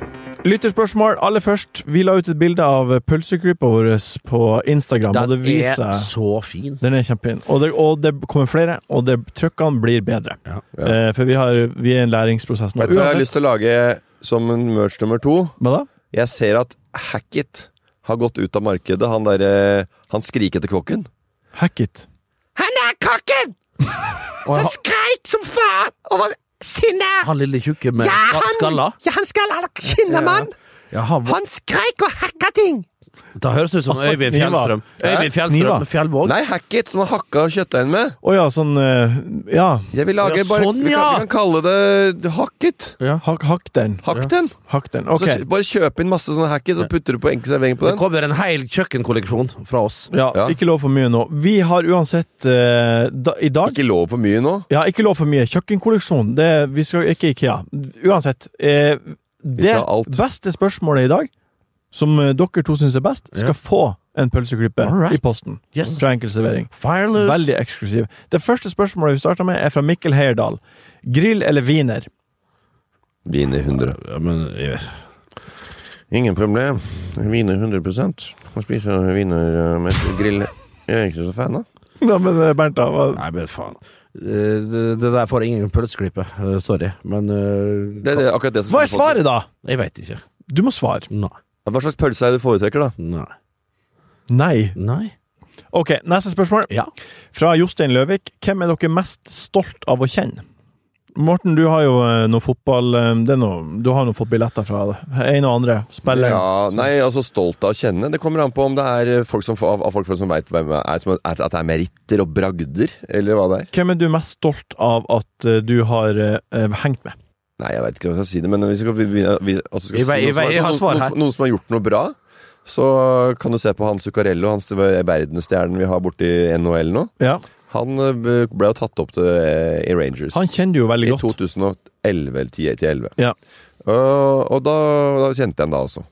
[SPEAKER 2] Lytterspørsmål aller først. Vi la ut et bilde av pølseklypa vår på Instagram, og det
[SPEAKER 5] Den er
[SPEAKER 2] viser
[SPEAKER 5] så fin.
[SPEAKER 2] Den er kjempefin. Og det, og det kommer flere, og det, trykkene blir bedre.
[SPEAKER 5] Ja.
[SPEAKER 2] Eh, for vi, har, vi er i en læringsprosess nå.
[SPEAKER 3] Vet du hva jeg har lyst til å lage som en merch nummer to?
[SPEAKER 2] Hva da?
[SPEAKER 3] Jeg ser at Hackett har gått ut av markedet. Han der, eh, han skrikete kokken.
[SPEAKER 2] Hack it.
[SPEAKER 3] Han er
[SPEAKER 5] [laughs]
[SPEAKER 3] kokken! Som skreik som faen over sinnet!
[SPEAKER 5] Han lille tjukke med ska- skalla.
[SPEAKER 3] ja, han skal ha skinnemann!
[SPEAKER 5] Ja, han,
[SPEAKER 3] Han skreik og hakka ting!
[SPEAKER 5] det høres ut som
[SPEAKER 2] Altså,
[SPEAKER 5] Øyvind
[SPEAKER 2] kniver.
[SPEAKER 5] Fjellstrøm.
[SPEAKER 3] Hæ?
[SPEAKER 5] Øyvind Fjellstrøm
[SPEAKER 2] Kniver.
[SPEAKER 5] Fjellvåg.
[SPEAKER 3] Nei, Hackett som han hakka kjøttdeigen med.
[SPEAKER 2] Å ja, sånn eh, Ja.
[SPEAKER 3] Jeg vil lage
[SPEAKER 5] Ja,
[SPEAKER 3] bare
[SPEAKER 5] sånn,
[SPEAKER 3] vi, kan,
[SPEAKER 5] ja!
[SPEAKER 3] vi kan kalle det Hackett.
[SPEAKER 2] Hakk, hakk den.
[SPEAKER 3] Hakk den.
[SPEAKER 2] Hakk den. Ok.
[SPEAKER 3] Så s- bare kjøp inn masse sånne Hackett, så putter du på enkel servering på
[SPEAKER 5] Det
[SPEAKER 3] den.
[SPEAKER 5] kommer en hel kjøkkenkolleksjon fra oss.
[SPEAKER 2] Ja,
[SPEAKER 3] Ja.
[SPEAKER 2] ikke lov for mye nå. Vi har uansett eh, da, I dag
[SPEAKER 3] Ikke lov for mye nå.
[SPEAKER 2] Ja, ikke lov for mye. Kjøkkenkolleksjon. Det, vi skal ikke IKEA. Uansett. Eh, det
[SPEAKER 3] skal ha alt.
[SPEAKER 2] beste spørsmålet i dag, som eh, dere to syns er best, skal
[SPEAKER 5] Ja.
[SPEAKER 2] få en pølseklype
[SPEAKER 5] All right.
[SPEAKER 2] i posten
[SPEAKER 5] Yes.
[SPEAKER 2] fra Enkel servering.
[SPEAKER 5] Fireløs.
[SPEAKER 2] Veldig eksklusiv. Det første spørsmålet vi starter med, er fra Mikkel Heierdal. Grill eller wiener?
[SPEAKER 3] Vin i 100.
[SPEAKER 5] Ja, men, eh, jeg-
[SPEAKER 3] Ingen problem. Viner 100 Man spiser viner eh, med grill. Jeg er ikke så fan av.
[SPEAKER 2] Ja, men eh, Bernt, da. Hva?
[SPEAKER 5] Nei, men faen. Eh, Det, det der får ingen pølseklippe. Eh, Sorry. Men eh,
[SPEAKER 3] Det er akkurat det som
[SPEAKER 2] Hva er svaret, da?
[SPEAKER 5] jeg veit ikke.
[SPEAKER 2] Du må svare.
[SPEAKER 5] Nei.
[SPEAKER 3] Hva slags pølse er det du foretrekker, da?
[SPEAKER 5] Nei.
[SPEAKER 2] Nei.
[SPEAKER 5] Nei.
[SPEAKER 2] Ok, neste spørsmål.
[SPEAKER 5] Ja.
[SPEAKER 2] Fra Jostein Løvik. Hvem er dere mest stolt av å kjenne? Morten, du har jo eh, noe fotball eh, det er noe, Du har noen fotbilletter fra en og andre spiller.
[SPEAKER 3] Ja, nei, altså stolt av å kjenne. Det kommer an på om det er eh, folk som, av, av folk som veit hvem det er, som er, at det er meritter og bragder, eller hva det er.
[SPEAKER 2] Hvem er du mest stolt av at eh, du har eh, eh, hengt med?
[SPEAKER 3] Nei, jeg veit ikke hva jeg skal si det, men hvis vi, vi, vi, altså skal
[SPEAKER 5] Jeg vei-
[SPEAKER 3] si
[SPEAKER 5] jeg
[SPEAKER 3] noen, som
[SPEAKER 5] vei- jeg
[SPEAKER 3] er,
[SPEAKER 5] har
[SPEAKER 3] noen,
[SPEAKER 5] svar her.
[SPEAKER 3] noen, som- noen som har gjort noe bra, så kan du se på han Zuccarello, han som er verdensstjernen vi har borti NHL nå.
[SPEAKER 2] Ja.
[SPEAKER 3] Han eh, ble jo tatt opp til, eh, i Rangers.
[SPEAKER 2] Han kjenner du jo veldig
[SPEAKER 3] I
[SPEAKER 2] godt.
[SPEAKER 3] 2011 eller 10 til 11.
[SPEAKER 2] Ja.
[SPEAKER 3] Og, Eh, og da, da kjente jeg ham da også.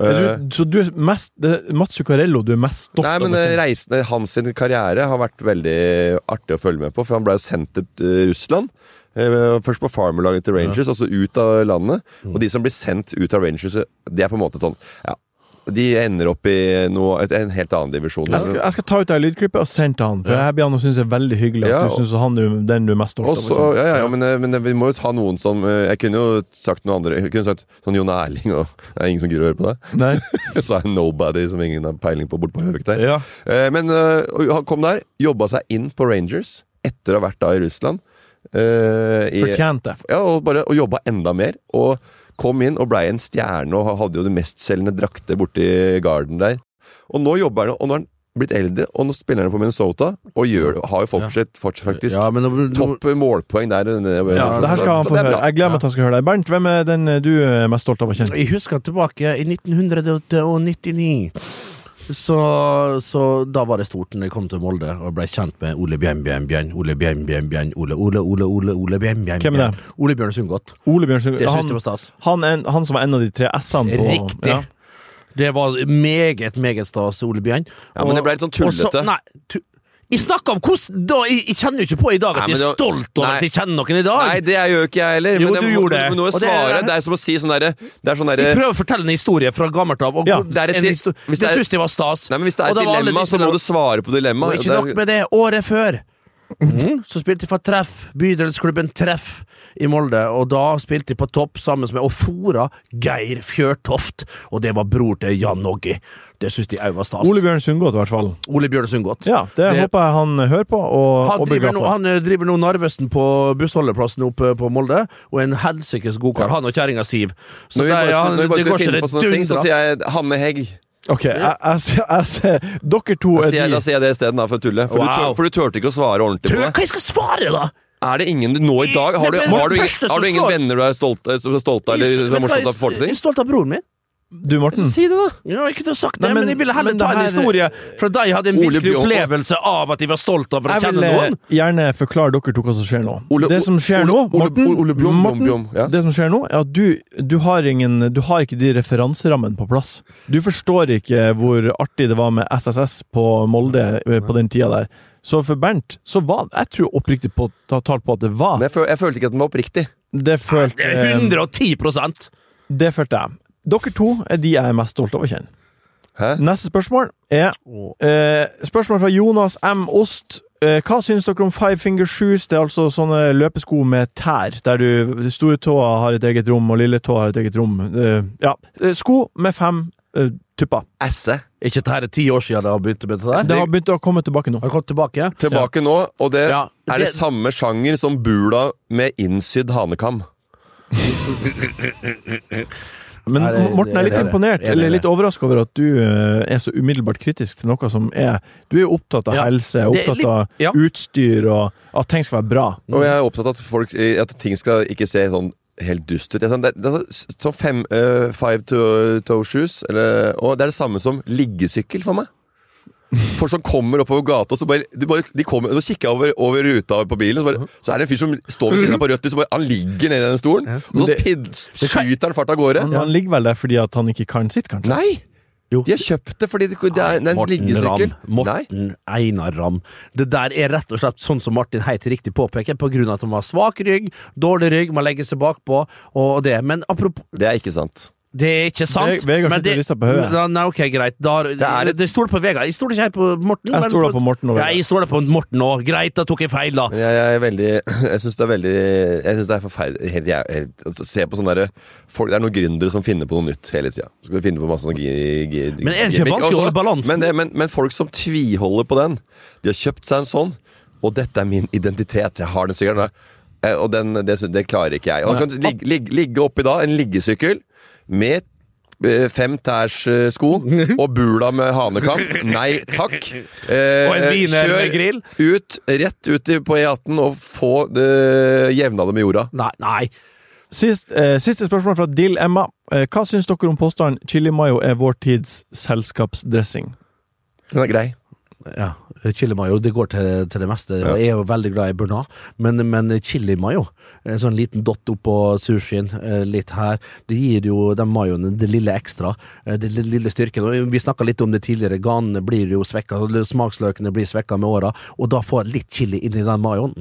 [SPEAKER 2] Er
[SPEAKER 3] Eh,
[SPEAKER 2] du, så du er mest Det er Mats Zuccarello du er mest stolt
[SPEAKER 3] Nei, men
[SPEAKER 2] av? å
[SPEAKER 3] eh,
[SPEAKER 2] kjenne.
[SPEAKER 3] reisen hans sin karriere har vært veldig artig å følge med på, for han ble jo sendt til eh, Russland. eh, Først på farmerlaget til Rangers, altså ut av landet.
[SPEAKER 2] Mm.
[SPEAKER 3] Og de som blir sendt ut av Rangers, de er på en måte sånn Ja, de ender opp i noe, et, en helt annen divisjon.
[SPEAKER 2] Jeg skal, jeg skal ta ut det lydklippet og sende til han, for jeg blir han å synes er veldig hyggelig at
[SPEAKER 3] Ja,
[SPEAKER 2] du
[SPEAKER 3] og-
[SPEAKER 2] synes han er den du er mest stolt
[SPEAKER 3] Og
[SPEAKER 2] av.
[SPEAKER 3] så,
[SPEAKER 2] liksom.
[SPEAKER 3] ja, ja, ja, men, eh, men vi må jo ta noen som eh, Jeg kunne jo sagt noen andre. Jeg kunne sagt sånn Jon Erling og Det er ingen som gidder å høre på det. [laughs]
[SPEAKER 2] Nei.
[SPEAKER 3] Så er det Nobody som ingen har peiling på borte på Høvik der.
[SPEAKER 2] Ja.
[SPEAKER 3] Eh, Men eh, og han kom der, jobba seg inn på Rangers etter å ha vært da i Russland. eh, i,
[SPEAKER 2] Fortjent det.
[SPEAKER 3] ja, og, bare, og jobba enda mer. Og kom inn og blei en stjerne og hadde jo det mestselgende drakter borti Garden der. Og nå jobber han, og nå er han blitt eldre, og nå spiller han på Minnesota og gjør, det- har jo fortsatt, fortsatt faktisk
[SPEAKER 5] Ja, men nå- nå-
[SPEAKER 3] topp målpoeng der. eh,
[SPEAKER 2] Ja, det her skal han få høre. Jeg gleder meg til han skal høre det. Bernt, hvem er den eh, du er mest stolt av å kjenne?
[SPEAKER 5] Jeg husker tilbake i 1999. Så, så da var det stort når jeg kom til Molde og ble kjent med Ole Bjørn Bjørn Bjørn, Ole Bjørn Bjørn Bjørn, Ole Ole Ole Ole Ole Bjørn Bjørn.
[SPEAKER 2] Hvem er det?
[SPEAKER 5] Bjørn. Ole Bjørn Sundgodt.
[SPEAKER 2] Ole Bjørnsen.
[SPEAKER 5] Det syns
[SPEAKER 2] Han,
[SPEAKER 5] jeg var stas.
[SPEAKER 2] han, er en- han som var en av de tre S-ene på
[SPEAKER 5] Riktig.
[SPEAKER 2] Ja.
[SPEAKER 5] Det var meget, meget stas, Ole Bjørn.
[SPEAKER 3] Ja, men det ble litt sånn
[SPEAKER 5] og så-
[SPEAKER 3] tullete.
[SPEAKER 5] Nei, tu jeg snakker om hvordan da, jeg, jeg kjenner jo ikke på i dag at
[SPEAKER 3] Nei, men
[SPEAKER 5] jeg er
[SPEAKER 3] det var-
[SPEAKER 5] stolt over
[SPEAKER 3] Nei.
[SPEAKER 5] at jeg kjenner noen i dag.
[SPEAKER 3] Nei, det er jo ikke jeg heller.
[SPEAKER 5] Jo,
[SPEAKER 3] men jeg
[SPEAKER 5] du
[SPEAKER 3] må-
[SPEAKER 5] gjorde det.
[SPEAKER 3] du må jo
[SPEAKER 5] Og det er-
[SPEAKER 3] svare. Det er som å si sånn derre Det er sånn derre
[SPEAKER 5] Jeg prøver å fortelle en historie fra gammelt av. Og
[SPEAKER 2] Ja,
[SPEAKER 5] det,
[SPEAKER 3] det er et
[SPEAKER 5] en
[SPEAKER 3] di-
[SPEAKER 5] histo-
[SPEAKER 3] hvis det
[SPEAKER 5] det
[SPEAKER 3] er-
[SPEAKER 5] synes jeg var stas.
[SPEAKER 3] Nei, men Hvis det er et
[SPEAKER 5] Og da var alle
[SPEAKER 3] dilemma,
[SPEAKER 5] disse
[SPEAKER 3] så må
[SPEAKER 5] der-
[SPEAKER 3] du svare på
[SPEAKER 5] Og
[SPEAKER 3] dilemmaet.
[SPEAKER 5] ikke nok med det, året før mm, så spilte jeg for Treff, bydelsklubben Treff i Molde. Og da spilte jeg på topp sammen med og fora Geir Fjørtoft. Og det var bror til Jan Noggi. Det syns de òg var stas.
[SPEAKER 2] Ole
[SPEAKER 5] Ole,
[SPEAKER 2] Bjørn Sundgård, i hvert fall.
[SPEAKER 5] Bjørn Sundgodt.
[SPEAKER 2] Ja, det,
[SPEAKER 5] Det-
[SPEAKER 2] håper jeg han eh, hører på og,
[SPEAKER 5] Han
[SPEAKER 2] og blir
[SPEAKER 5] driver,
[SPEAKER 2] glad
[SPEAKER 5] nå,
[SPEAKER 2] for.
[SPEAKER 5] han eh, driver nå Narvesen på bussholdeplassen oppe på Molde, og er en helsikes god kar. Han og kjerringa Siv. Så
[SPEAKER 3] Når vi
[SPEAKER 5] det
[SPEAKER 3] bare
[SPEAKER 5] er-
[SPEAKER 3] skal,
[SPEAKER 5] han-
[SPEAKER 3] når vi bare
[SPEAKER 5] det
[SPEAKER 3] skal
[SPEAKER 5] går så
[SPEAKER 3] finne
[SPEAKER 5] det
[SPEAKER 3] på sånne ting, så
[SPEAKER 5] dundrer.
[SPEAKER 3] sier jeg Hanne Hegg.
[SPEAKER 2] Ok, jeg, jeg, ser- jeg ser Dere to
[SPEAKER 3] Da
[SPEAKER 2] er
[SPEAKER 3] sier jeg, da
[SPEAKER 2] de
[SPEAKER 3] sier jeg det isteden, da, for å tulle. For, du
[SPEAKER 5] Wow.
[SPEAKER 3] tør, for du turte ikke å svare ordentlig på
[SPEAKER 5] Tror du
[SPEAKER 3] det.
[SPEAKER 5] hva jeg skal svare, da?
[SPEAKER 3] Er det ingen nå i dag Har du,
[SPEAKER 5] Nei, men
[SPEAKER 3] har du,
[SPEAKER 5] det
[SPEAKER 3] ingen,
[SPEAKER 5] første som
[SPEAKER 3] har du ingen
[SPEAKER 5] slår-
[SPEAKER 3] venner du er stolt, eh, som er stolt av,
[SPEAKER 5] Jeg-
[SPEAKER 3] eller som
[SPEAKER 5] vet
[SPEAKER 3] er
[SPEAKER 5] du hva,
[SPEAKER 3] morsomt å
[SPEAKER 5] jeg-
[SPEAKER 3] få til
[SPEAKER 5] Jeg
[SPEAKER 3] ting?
[SPEAKER 5] er stolt av broren min.
[SPEAKER 2] Du, Morten.
[SPEAKER 3] Si det, da!
[SPEAKER 5] Ja, jeg kunne sagt det,
[SPEAKER 2] Nei,
[SPEAKER 5] men,
[SPEAKER 2] men-
[SPEAKER 5] jeg ville heller
[SPEAKER 2] men
[SPEAKER 5] ta
[SPEAKER 2] det
[SPEAKER 5] en
[SPEAKER 2] her-
[SPEAKER 5] historie fra deg jeg hadde en
[SPEAKER 3] Ole
[SPEAKER 5] virkelig
[SPEAKER 3] Bjørn-
[SPEAKER 5] opplevelse av at jeg var stolt over å
[SPEAKER 2] Jeg
[SPEAKER 5] kjenne
[SPEAKER 2] vil eh,
[SPEAKER 5] noen.
[SPEAKER 2] gjerne forklare dere to hva som skjer nå.
[SPEAKER 3] Ole-
[SPEAKER 2] det som skjer
[SPEAKER 3] Ole-
[SPEAKER 2] nå,
[SPEAKER 3] Ole-
[SPEAKER 2] Morten,
[SPEAKER 3] Ole Bjom, Bjom,
[SPEAKER 2] Morten
[SPEAKER 3] Bjom, ja.
[SPEAKER 2] Det som skjer nå, er at du, du, har ingen, du har ikke de referanserammene på plass. Du forstår ikke hvor artig det var med SSS på Molde eh, på den tida der. Så for Bernt, så var Jeg tror oppriktig på ta tall på at det var
[SPEAKER 3] Men jeg, føl, jeg følte ikke at den var oppriktig.
[SPEAKER 2] Det følte,
[SPEAKER 5] Det er
[SPEAKER 2] eh,
[SPEAKER 5] 110 Hva
[SPEAKER 2] det følte jeg. Dere to er de jeg er mest stolt av å kjenne.
[SPEAKER 3] Hæ?
[SPEAKER 2] Neste spørsmål er eh, Spørsmål fra Jonas M. Ost. Eh, hva syns dere om five finger shoes? Det er altså sånne løpesko med tær, der du store tåa har et eget rom, og lille tåa har et eget rom. Eh, ja. Eh, Sko med fem eh, tupper.
[SPEAKER 3] Asse.
[SPEAKER 5] Ikke dette her er ti år siden jeg begynte med det der?
[SPEAKER 2] Det har begynt å komme tilbake nå.
[SPEAKER 5] Har jeg kommet tilbake?
[SPEAKER 3] Tilbake nå, og det
[SPEAKER 5] Ja,
[SPEAKER 3] er det
[SPEAKER 5] det-
[SPEAKER 3] samme sjanger som bula med innsydd hanekam.
[SPEAKER 2] Men
[SPEAKER 5] Nei, det- det-
[SPEAKER 2] Morten er litt
[SPEAKER 5] det er det.
[SPEAKER 2] imponert,
[SPEAKER 5] Det er
[SPEAKER 2] eller
[SPEAKER 5] det.
[SPEAKER 2] litt overraska over at du eh, er så umiddelbart kritisk til noe som er Du er jo opptatt av
[SPEAKER 5] Ja.
[SPEAKER 2] helse,
[SPEAKER 5] Det er
[SPEAKER 2] opptatt
[SPEAKER 5] litt-
[SPEAKER 2] av
[SPEAKER 5] ja.
[SPEAKER 2] utstyr, og at ting skal være bra.
[SPEAKER 3] Og jeg er opptatt av at, folk, at ting skal ikke se sånn helt dust ut. Det er sånn, det, det er så- sånn fem, eh, five to- toe shoes, eller, og det er det samme som liggesykkel for meg. Folk som kommer oppover gata, og så bare, de bare de kommer, og så kikker jeg over, over ruta på bilen, og så, bare, så er det en fyr som står ved siden av på rødt lys, og bare, han ligger nede i den stolen, og så pid, skyter han fart av gårde.
[SPEAKER 2] Han, han ligger vel der fordi at han ikke kan sitt, kanskje?
[SPEAKER 3] Nei!
[SPEAKER 5] Jo.
[SPEAKER 3] De har kjøpt det fordi det, det er, det er en liggesykkel.
[SPEAKER 5] Ramm.
[SPEAKER 3] Nei.
[SPEAKER 5] Morten Einar Ramm. Det der er rett og slett sånn som Martin helt riktig påpeker, på grunn av at han har svak rygg, dårlig rygg, man legger seg bakpå og det. Men apropos
[SPEAKER 3] Det er ikke sant.
[SPEAKER 5] Det er ikke sant.
[SPEAKER 2] Ve- Vegard
[SPEAKER 5] men
[SPEAKER 2] sitter og rister på hodet.
[SPEAKER 5] Nei, Nei, ok, greit. Da, det
[SPEAKER 3] er et-
[SPEAKER 5] det stoler på Vegard. Jeg stoler ikke helt på Morten.
[SPEAKER 2] Jeg
[SPEAKER 5] men
[SPEAKER 2] stoler på Morten og
[SPEAKER 5] Ja,
[SPEAKER 2] Vegard.
[SPEAKER 5] jeg stoler på Morten òg. Greit, da tok jeg feil, da.
[SPEAKER 3] Men Jeg, jeg er veldig Jeg syns det er veldig Jeg synes det er forferdelig helt, jæv- helt, altså, Se på sånne der, folk, Det er noen gründere som finner på noe nytt hele tida. Skal finne på masse sånne gi- gi-
[SPEAKER 5] Men er det ikke
[SPEAKER 3] gimmick.
[SPEAKER 5] vanskelig å
[SPEAKER 3] Og så-
[SPEAKER 5] holde balansen?
[SPEAKER 3] Men, det, men, men folk som tviholder på den De har kjøpt seg en sånn, og dette er min identitet. Jeg har den sikkert. Eh, Og den, det, sy- det klarer ikke jeg. Og du kan ligge, ligge, ligge oppi da, en liggesykkel med eh, fem tærs eh, [laughs] sko og bula med hanekam. Nei [laughs] takk. Eh,
[SPEAKER 5] Og en wiener med grill.
[SPEAKER 3] ut, rett ut i- på E18 og få eh, jevna det med jorda.
[SPEAKER 5] Nei, nei.
[SPEAKER 2] Sist, eh, siste spørsmål fra Dill Emma. Eh, hva syns dere om påstanden 'chili mayo er vår tids selskapsdressing'?
[SPEAKER 3] Den er grei.
[SPEAKER 5] Ja, chili mayo, det går til, til det meste. Og Jeg er jo veldig glad i bearnés, men, men chili mayo, en sånn liten dott oppå sushien, eh, litt her, det gir jo den mayoen det lille ekstra, eh, det lille, lille styrken. Og vi snakka litt om det tidligere, ganene blir jo svekka, og smaksløkene blir svekka med åra, og da får jeg litt chili inni den mayoen.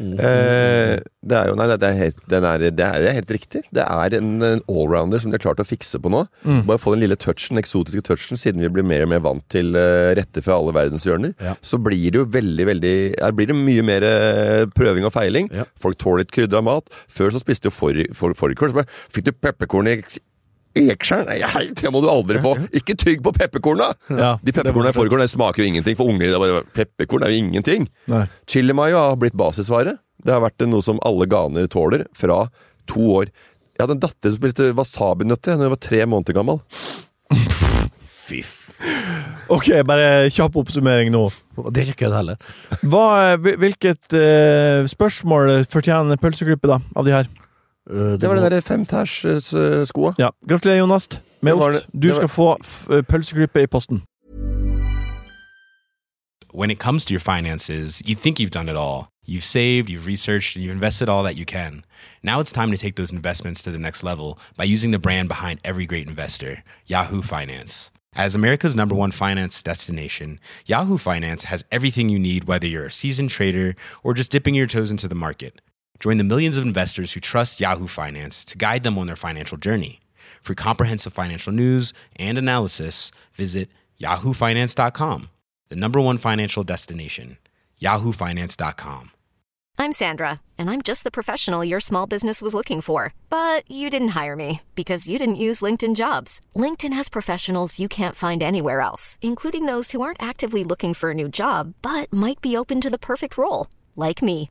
[SPEAKER 5] Mm.
[SPEAKER 3] Eh, det er jo Nei, det er helt, den er, det er, det er helt riktig. Det er en, en allrounder som de har klart å fikse på nå. Bare få den lille touchen, den eksotiske touchen, siden vi blir mer og mer vant til eh, rette fra alle verdenshjørner. Så blir det jo veldig, veldig Her blir det mye mer eh, prøving og feiling.
[SPEAKER 5] Ja.
[SPEAKER 3] Folk tåler litt krydra mat. Før så spiste jo fårikål. For, fårikål, så bare, Fikk du pepperkorn i Ekskjær? Nei, hei, det må du aldri få! Ikke tygg på pepperkorna!
[SPEAKER 2] Ja,
[SPEAKER 3] De pepperkornene i fårikålen det smaker jo ingenting, for unger det er bare- Pepperkorn er jo ingenting!
[SPEAKER 2] Nei.
[SPEAKER 3] Chili mayo har blitt basisvare. Det har vært noe som alle ganer tåler fra to år. Jeg hadde en datter som spilte wasabinøtte da hun var tre måneder gammel.
[SPEAKER 2] Ok, bare kjapp oppsummering nå.
[SPEAKER 5] Og det er ikke kødd heller.
[SPEAKER 2] Hva, eh, hvil- hvilket eh, spørsmål fortjener pølseklippet da, av de her?
[SPEAKER 5] Eh,
[SPEAKER 3] Det var
[SPEAKER 5] må-
[SPEAKER 3] den der femtærs-skoa.
[SPEAKER 2] Ja. Gratulerer, Jonas, med
[SPEAKER 3] Det var det-
[SPEAKER 2] ost. Du
[SPEAKER 3] det var-
[SPEAKER 2] skal få f- pølseklippet i posten.
[SPEAKER 6] When it comes to your finances, you think you've done it all. You've saved, you've researched, and you've invested all that you can. Now it's time to take those investments to the next level by using the brand behind every great investor, Yahoo Finance. As America's number one finance destination, Yahoo Finance has everything you need, whether you're a seasoned trader or just dipping your toes into the market. Join the millions of investors who trust Yahoo Finance to guide them on their financial journey. For comprehensive financial news and analysis, visit yahoofinance.com, the number one financial destination, yahoofinance.com.
[SPEAKER 7] I'm Sandra, and I'm just the professional your small business was looking for. But you didn't hire me because you didn't use LinkedIn jobs. LinkedIn has professionals you can't find anywhere else, including those who aren't actively looking for a new job but might be open to the perfect role, like me.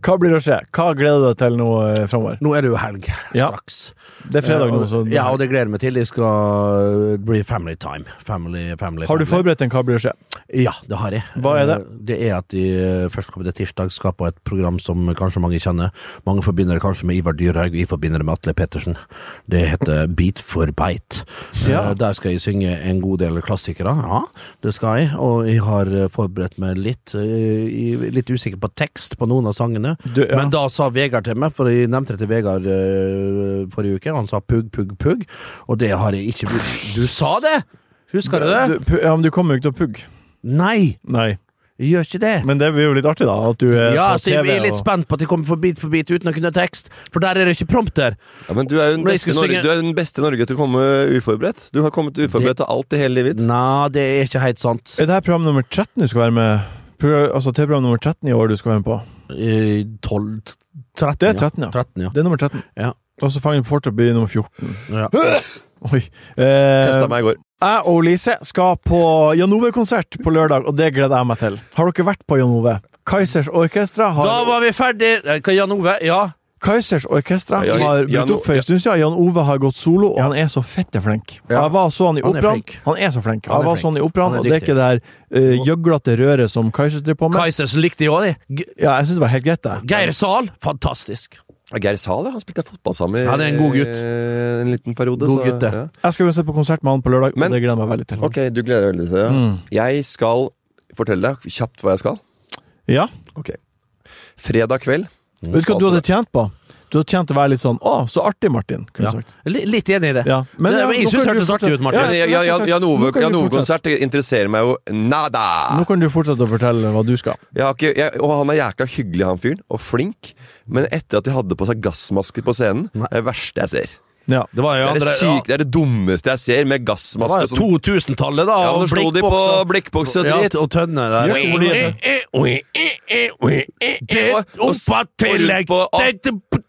[SPEAKER 2] Hva blir å skje? Hva gleder du deg til nå eh, framover?
[SPEAKER 5] Nå er det jo helg,
[SPEAKER 2] Ja.
[SPEAKER 5] straks.
[SPEAKER 2] Det er fredag nå, så
[SPEAKER 5] Ja, og det gleder jeg meg til. Det skal eh, bli family time. Family, family,
[SPEAKER 2] har du
[SPEAKER 5] family.
[SPEAKER 2] forberedt en Hva blir å skje?
[SPEAKER 5] Ja, det har jeg.
[SPEAKER 2] Hva er det?
[SPEAKER 5] Eh, Det er at de eh, førstkommende tirsdag skal på et program som kanskje mange kjenner. Mange forbinder det kanskje med Ivar Dyrhaug, vi forbinder det med Atle Pettersen.
[SPEAKER 2] [laughs]
[SPEAKER 5] Det heter Beat for beit. Eh,
[SPEAKER 2] Ja.
[SPEAKER 5] Der skal jeg synge en god del klassikere. Ja, det skal jeg. Og jeg har eh, forberedt meg litt. eh, Jeg er litt usikker på tekst på noen av sangene.
[SPEAKER 2] Du, ja.
[SPEAKER 5] Men da sa Vegard til meg, for jeg nevnte det til Vegard eh, forrige uke, han sa pugg, pugg, pugg. Og det har jeg ikke brukt. Du sa det! Husker du det?
[SPEAKER 2] Du, pu- ja, men du kommer jo ikke til å pugge.
[SPEAKER 5] Nei!
[SPEAKER 2] Nei.
[SPEAKER 5] Jeg gjør ikke det.
[SPEAKER 2] Men det blir jo litt artig, da. At du er
[SPEAKER 5] Ja,
[SPEAKER 2] på
[SPEAKER 5] så jeg
[SPEAKER 2] TV
[SPEAKER 5] er litt
[SPEAKER 2] og
[SPEAKER 5] spent på at jeg kommer for bit for bit uten å kunne tekst, for der er det ikke prompter.
[SPEAKER 3] Ja, men du er jo den
[SPEAKER 5] Men jeg
[SPEAKER 3] beste, i
[SPEAKER 5] skal
[SPEAKER 3] Norge,
[SPEAKER 5] synge-
[SPEAKER 3] du er den beste i Norge til å komme uforberedt. Du har kommet uforberedt til alt i hele livet.
[SPEAKER 5] Nei, det er ikke helt sant.
[SPEAKER 2] Er det her program nummer 13 du skal være med Program- Altså TV-program nummer 13 i år du skal være med på?
[SPEAKER 5] Eh, 12 13,
[SPEAKER 2] Det er 13, ja.
[SPEAKER 5] 13, ja.
[SPEAKER 2] Det er nummer 13.
[SPEAKER 5] Ja.
[SPEAKER 2] Og så fanger du på fortet blir nummer 14.
[SPEAKER 5] Ja.
[SPEAKER 2] Oi. Eh,
[SPEAKER 3] Testa meg i går.
[SPEAKER 2] jeg og Lise skal på Jan Ove-konsert på lørdag, og det gleder jeg meg til. Har dere vært på Jan Ove? Kaizers Orkestra har
[SPEAKER 5] Da var vi ferdig Eh, hva, Jan Ove, ja.
[SPEAKER 2] Kaizers Orkestra
[SPEAKER 3] Ja,
[SPEAKER 2] har
[SPEAKER 3] Jan
[SPEAKER 2] brutt
[SPEAKER 3] O-
[SPEAKER 2] opp for en
[SPEAKER 3] ja.
[SPEAKER 2] stund siden. Jan Ove har gått solo, og han er så fette flink.
[SPEAKER 5] Ja.
[SPEAKER 2] Jeg var og så han i
[SPEAKER 5] Han er
[SPEAKER 2] operaen.
[SPEAKER 5] flink.
[SPEAKER 2] Han er så flink.
[SPEAKER 5] Han er
[SPEAKER 2] Jeg var
[SPEAKER 5] flink.
[SPEAKER 2] sånn i operaen,
[SPEAKER 5] Han er
[SPEAKER 2] og det er
[SPEAKER 5] dyktig.
[SPEAKER 2] ikke det her eh, gjøglete røret som Kaizers driver på med.
[SPEAKER 5] Kaizers likte jeg òg, de. G-
[SPEAKER 2] Ja, jeg syns det var helt greit, det.
[SPEAKER 5] Geir Zahl, fantastisk.
[SPEAKER 3] Ja, Geir Zahl, ja. Han spilte jeg fotball sammen med
[SPEAKER 5] Han er en god gutt.
[SPEAKER 3] eh, en liten periode.
[SPEAKER 5] God gutt, det.
[SPEAKER 3] ja.
[SPEAKER 2] Jeg skal uansett på konsert med han på lørdag, og
[SPEAKER 3] Men-
[SPEAKER 2] det gleder jeg meg veldig til.
[SPEAKER 3] Ok, du gleder deg veldig til det. ja. Jeg skal fortelle deg kjapt hva jeg skal.
[SPEAKER 2] Ja.
[SPEAKER 3] Ok. Fredag kveld
[SPEAKER 2] Vet du hva du hadde tjent på? Du hadde tjent å være litt sånn 'Å, så artig, Martin', kunne
[SPEAKER 5] Ja.
[SPEAKER 2] jeg sagt.
[SPEAKER 5] Li- Litt enig i det.
[SPEAKER 2] Ja.
[SPEAKER 5] Men,
[SPEAKER 2] ja,
[SPEAKER 5] jeg
[SPEAKER 2] nå
[SPEAKER 5] syns
[SPEAKER 2] kan
[SPEAKER 5] det
[SPEAKER 2] du
[SPEAKER 5] hørtes artig ut,
[SPEAKER 2] fortsette.
[SPEAKER 5] Martin.
[SPEAKER 2] Ja,
[SPEAKER 3] Men jeg- jeg- jeg- Jan
[SPEAKER 2] Nå kan vi
[SPEAKER 3] Ove-konsert interesserer meg jo nada!
[SPEAKER 2] Nå kan du fortsette å fortelle hva du skal.
[SPEAKER 3] Jeg har ikke, jeg, og han er jækla hyggelig, han fyren, og flink. Men etter at de hadde på seg gassmasker på scenen, er det verste jeg ser.
[SPEAKER 2] Ja.
[SPEAKER 5] Det var jo
[SPEAKER 3] Det er
[SPEAKER 5] andre
[SPEAKER 3] det, syk, det er det dummeste jeg ser, med gassmaske og
[SPEAKER 5] Det
[SPEAKER 3] sånn.
[SPEAKER 5] var 2000-tallet, da.
[SPEAKER 3] Ja,
[SPEAKER 5] og
[SPEAKER 3] Nå slo de på
[SPEAKER 5] blikkbokser.
[SPEAKER 3] blikkboks og dritt.
[SPEAKER 5] Ja, og tønner der.
[SPEAKER 2] Gjør ikke
[SPEAKER 5] Olje. Det
[SPEAKER 3] Og- og-
[SPEAKER 5] dumpa tillegg!
[SPEAKER 3] og- og-
[SPEAKER 5] Det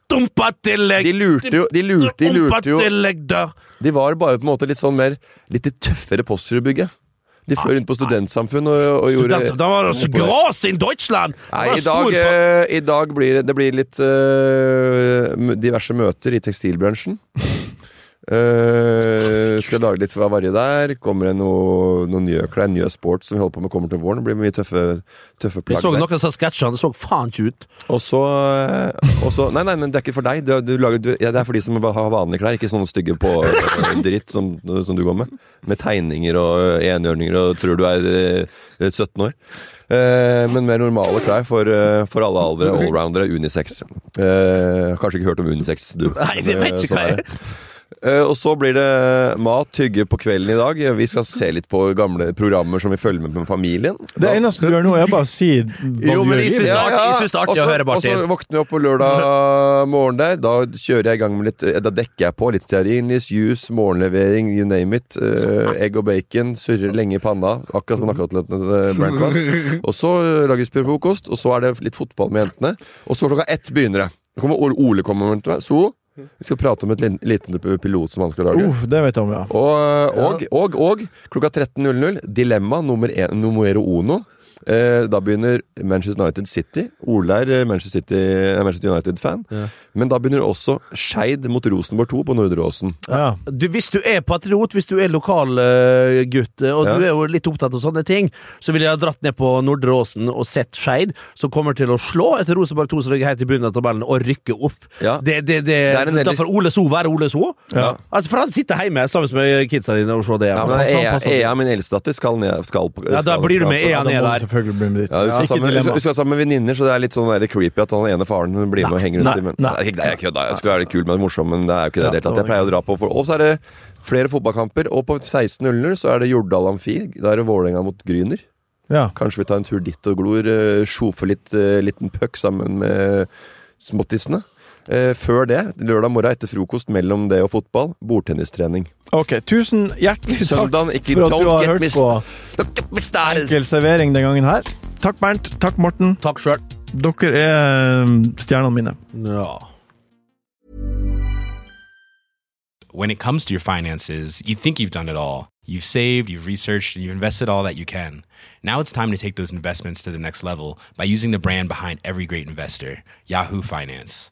[SPEAKER 5] dumpa tillegg!
[SPEAKER 3] De lurte jo- de lurte- de lurte
[SPEAKER 5] Dumpa
[SPEAKER 3] jo.
[SPEAKER 5] tillegg der.
[SPEAKER 3] De var bare på en måte litt sånn mer Litt i tøffere poster å bygge. De fløy rundt på studentsamfunn og, og gjorde
[SPEAKER 5] Studenter, Da var det så gras in Deutschland! Det var
[SPEAKER 3] Nei, i
[SPEAKER 5] stor
[SPEAKER 3] dag,
[SPEAKER 5] på-
[SPEAKER 3] eh, i dag blir det, det blir litt eh, m- diverse møter i tekstilbransjen. Eh, skal lage litt fra varje der. Kommer det noe, noen nye klær, nye sport som vi holder på med kommer til våren. Det blir mye tøffe, tøffe
[SPEAKER 5] Jeg
[SPEAKER 3] plagg
[SPEAKER 5] så
[SPEAKER 3] der.
[SPEAKER 5] noen av disse sketsjene, det så faen ikke ut.
[SPEAKER 3] Og så, eh, og så Nei, nei, men det er ikke for deg. Du, du lager, du, ja, det er for de som har vanlige klær, ikke sånne stygge på øh, dritt som, som du går med. Med tegninger og øh, enhjørninger og tror du er øh, 17 år. Eh, men mer normale klær for, øh, for alle aldre. Allroundere, unisex. Eh, har kanskje ikke hørt om unisex, du.
[SPEAKER 5] Nei,
[SPEAKER 3] Men,
[SPEAKER 5] det vet
[SPEAKER 3] øh,
[SPEAKER 5] ikke
[SPEAKER 3] sånn
[SPEAKER 5] hva
[SPEAKER 3] er det. Eh, Og så blir det mat, hygge på kvelden i dag. Vi skal se litt på gamle programmer som vi følger med med familien.
[SPEAKER 2] Det eneste du gjør nå, er bare å si hva
[SPEAKER 5] Jo,
[SPEAKER 2] du
[SPEAKER 5] men
[SPEAKER 2] gjør. i
[SPEAKER 5] jeg synes-
[SPEAKER 2] livet.
[SPEAKER 5] det er artig- jeg synes det er artig
[SPEAKER 3] Også-
[SPEAKER 5] å høre,
[SPEAKER 3] Og
[SPEAKER 5] Martin.
[SPEAKER 3] så våkner jeg opp på lørdag morgen der. Da kjører jeg i gang med litt eh, Da dekker jeg på litt stearinlys, juice, morgenlevering, you name it. Eh, egg og bacon. Surrer lenge i panna. Akkurat som nakkatelettene til Brand Class. Og så eh, lages pur frokost, og så er det litt fotball med jentene. Og så klokka ett begynner det. Da kommer Ole- Ole kommer til meg. So, vi skal prate om et lin- liten pilot som han skal lage.
[SPEAKER 2] Uff, det vet jeg om, ja.
[SPEAKER 3] Og, og, og, og klokka 13.00, dilemma nummer en, numero uno. Eh, da begynner Manchester United City. Ole er eh, Manchester, City, eh, Manchester United-fan. Men da begynner også Skeid mot Rosenborg 2 på Nordre Åsen.
[SPEAKER 2] ja.
[SPEAKER 5] du, hvis du er patriot, hvis du er lokal eh, gutt, eh, og
[SPEAKER 3] Ja.
[SPEAKER 5] du er jo litt opptatt av sånne ting, så ville jeg ha dratt ned på Nordre Åsen og sett Skeid, som kommer til å slå etter Rosenborg 2, som ligger helt i bunnen av tabellen, og rykke opp.
[SPEAKER 3] Ja.
[SPEAKER 5] Det, det, det,
[SPEAKER 3] er en veldig-
[SPEAKER 5] Da får Ole So være Ole So.
[SPEAKER 3] Ja.
[SPEAKER 5] Altså, for han sitter hjemme sammen med kidsa dine og ser det.
[SPEAKER 3] Ja,
[SPEAKER 5] Ja,
[SPEAKER 3] men E
[SPEAKER 5] Altså,
[SPEAKER 3] Ea,
[SPEAKER 5] han passer-
[SPEAKER 3] Ea, min eldstedatter, skal ned skal, på-
[SPEAKER 5] ja, da
[SPEAKER 3] skal-
[SPEAKER 5] blir du med
[SPEAKER 2] Ja, da
[SPEAKER 5] Ea
[SPEAKER 2] må
[SPEAKER 5] ned
[SPEAKER 2] du
[SPEAKER 5] der.
[SPEAKER 2] selvfølgelig bli med dit.
[SPEAKER 3] Ja, vi skal,
[SPEAKER 2] Ikke
[SPEAKER 3] sammen, vi
[SPEAKER 2] dilemma.
[SPEAKER 3] skal- vi skal sammen med venninner, så det er litt sånn der creepy at han ene faren blir med og henger rundt.
[SPEAKER 2] nei,
[SPEAKER 3] i- men-
[SPEAKER 2] nei.
[SPEAKER 3] Nei, det er kødda. Jeg skulle være litt kul, men morsom, men det er jo ikke det i det hele tatt. Jeg pleier å dra på for- Og så er det flere fotballkamper, og på 16.00 så er det Jordal Amfi. Da er det Vålerenga mot Gryner.
[SPEAKER 2] Ja.
[SPEAKER 3] Kanskje vi tar en tur dit og glor, eh, sjofe litt eh, liten puck sammen med småttisene. Eh, Før det, lørdag morgen etter frokost mellom det og fotball, bordtennistrening.
[SPEAKER 2] Ok, tusen hjertelig takk
[SPEAKER 3] Søndagen, ikke
[SPEAKER 2] for at
[SPEAKER 3] don't
[SPEAKER 2] du har
[SPEAKER 3] get
[SPEAKER 2] hørt
[SPEAKER 3] me
[SPEAKER 2] på
[SPEAKER 3] started.
[SPEAKER 2] Enkel servering den gangen her. Takk Bernt, takk Morten.
[SPEAKER 5] Takk sjøl.
[SPEAKER 2] Dere er mm, stjernene mine.
[SPEAKER 5] Ja.
[SPEAKER 6] when it comes to your finances, you think you've done it all. You've saved, you've researched, and you've invested all that you can. Now it's time to take those investments to the next level by using the brand behind every great investor, Yahoo Finance.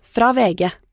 [SPEAKER 1] fra VG.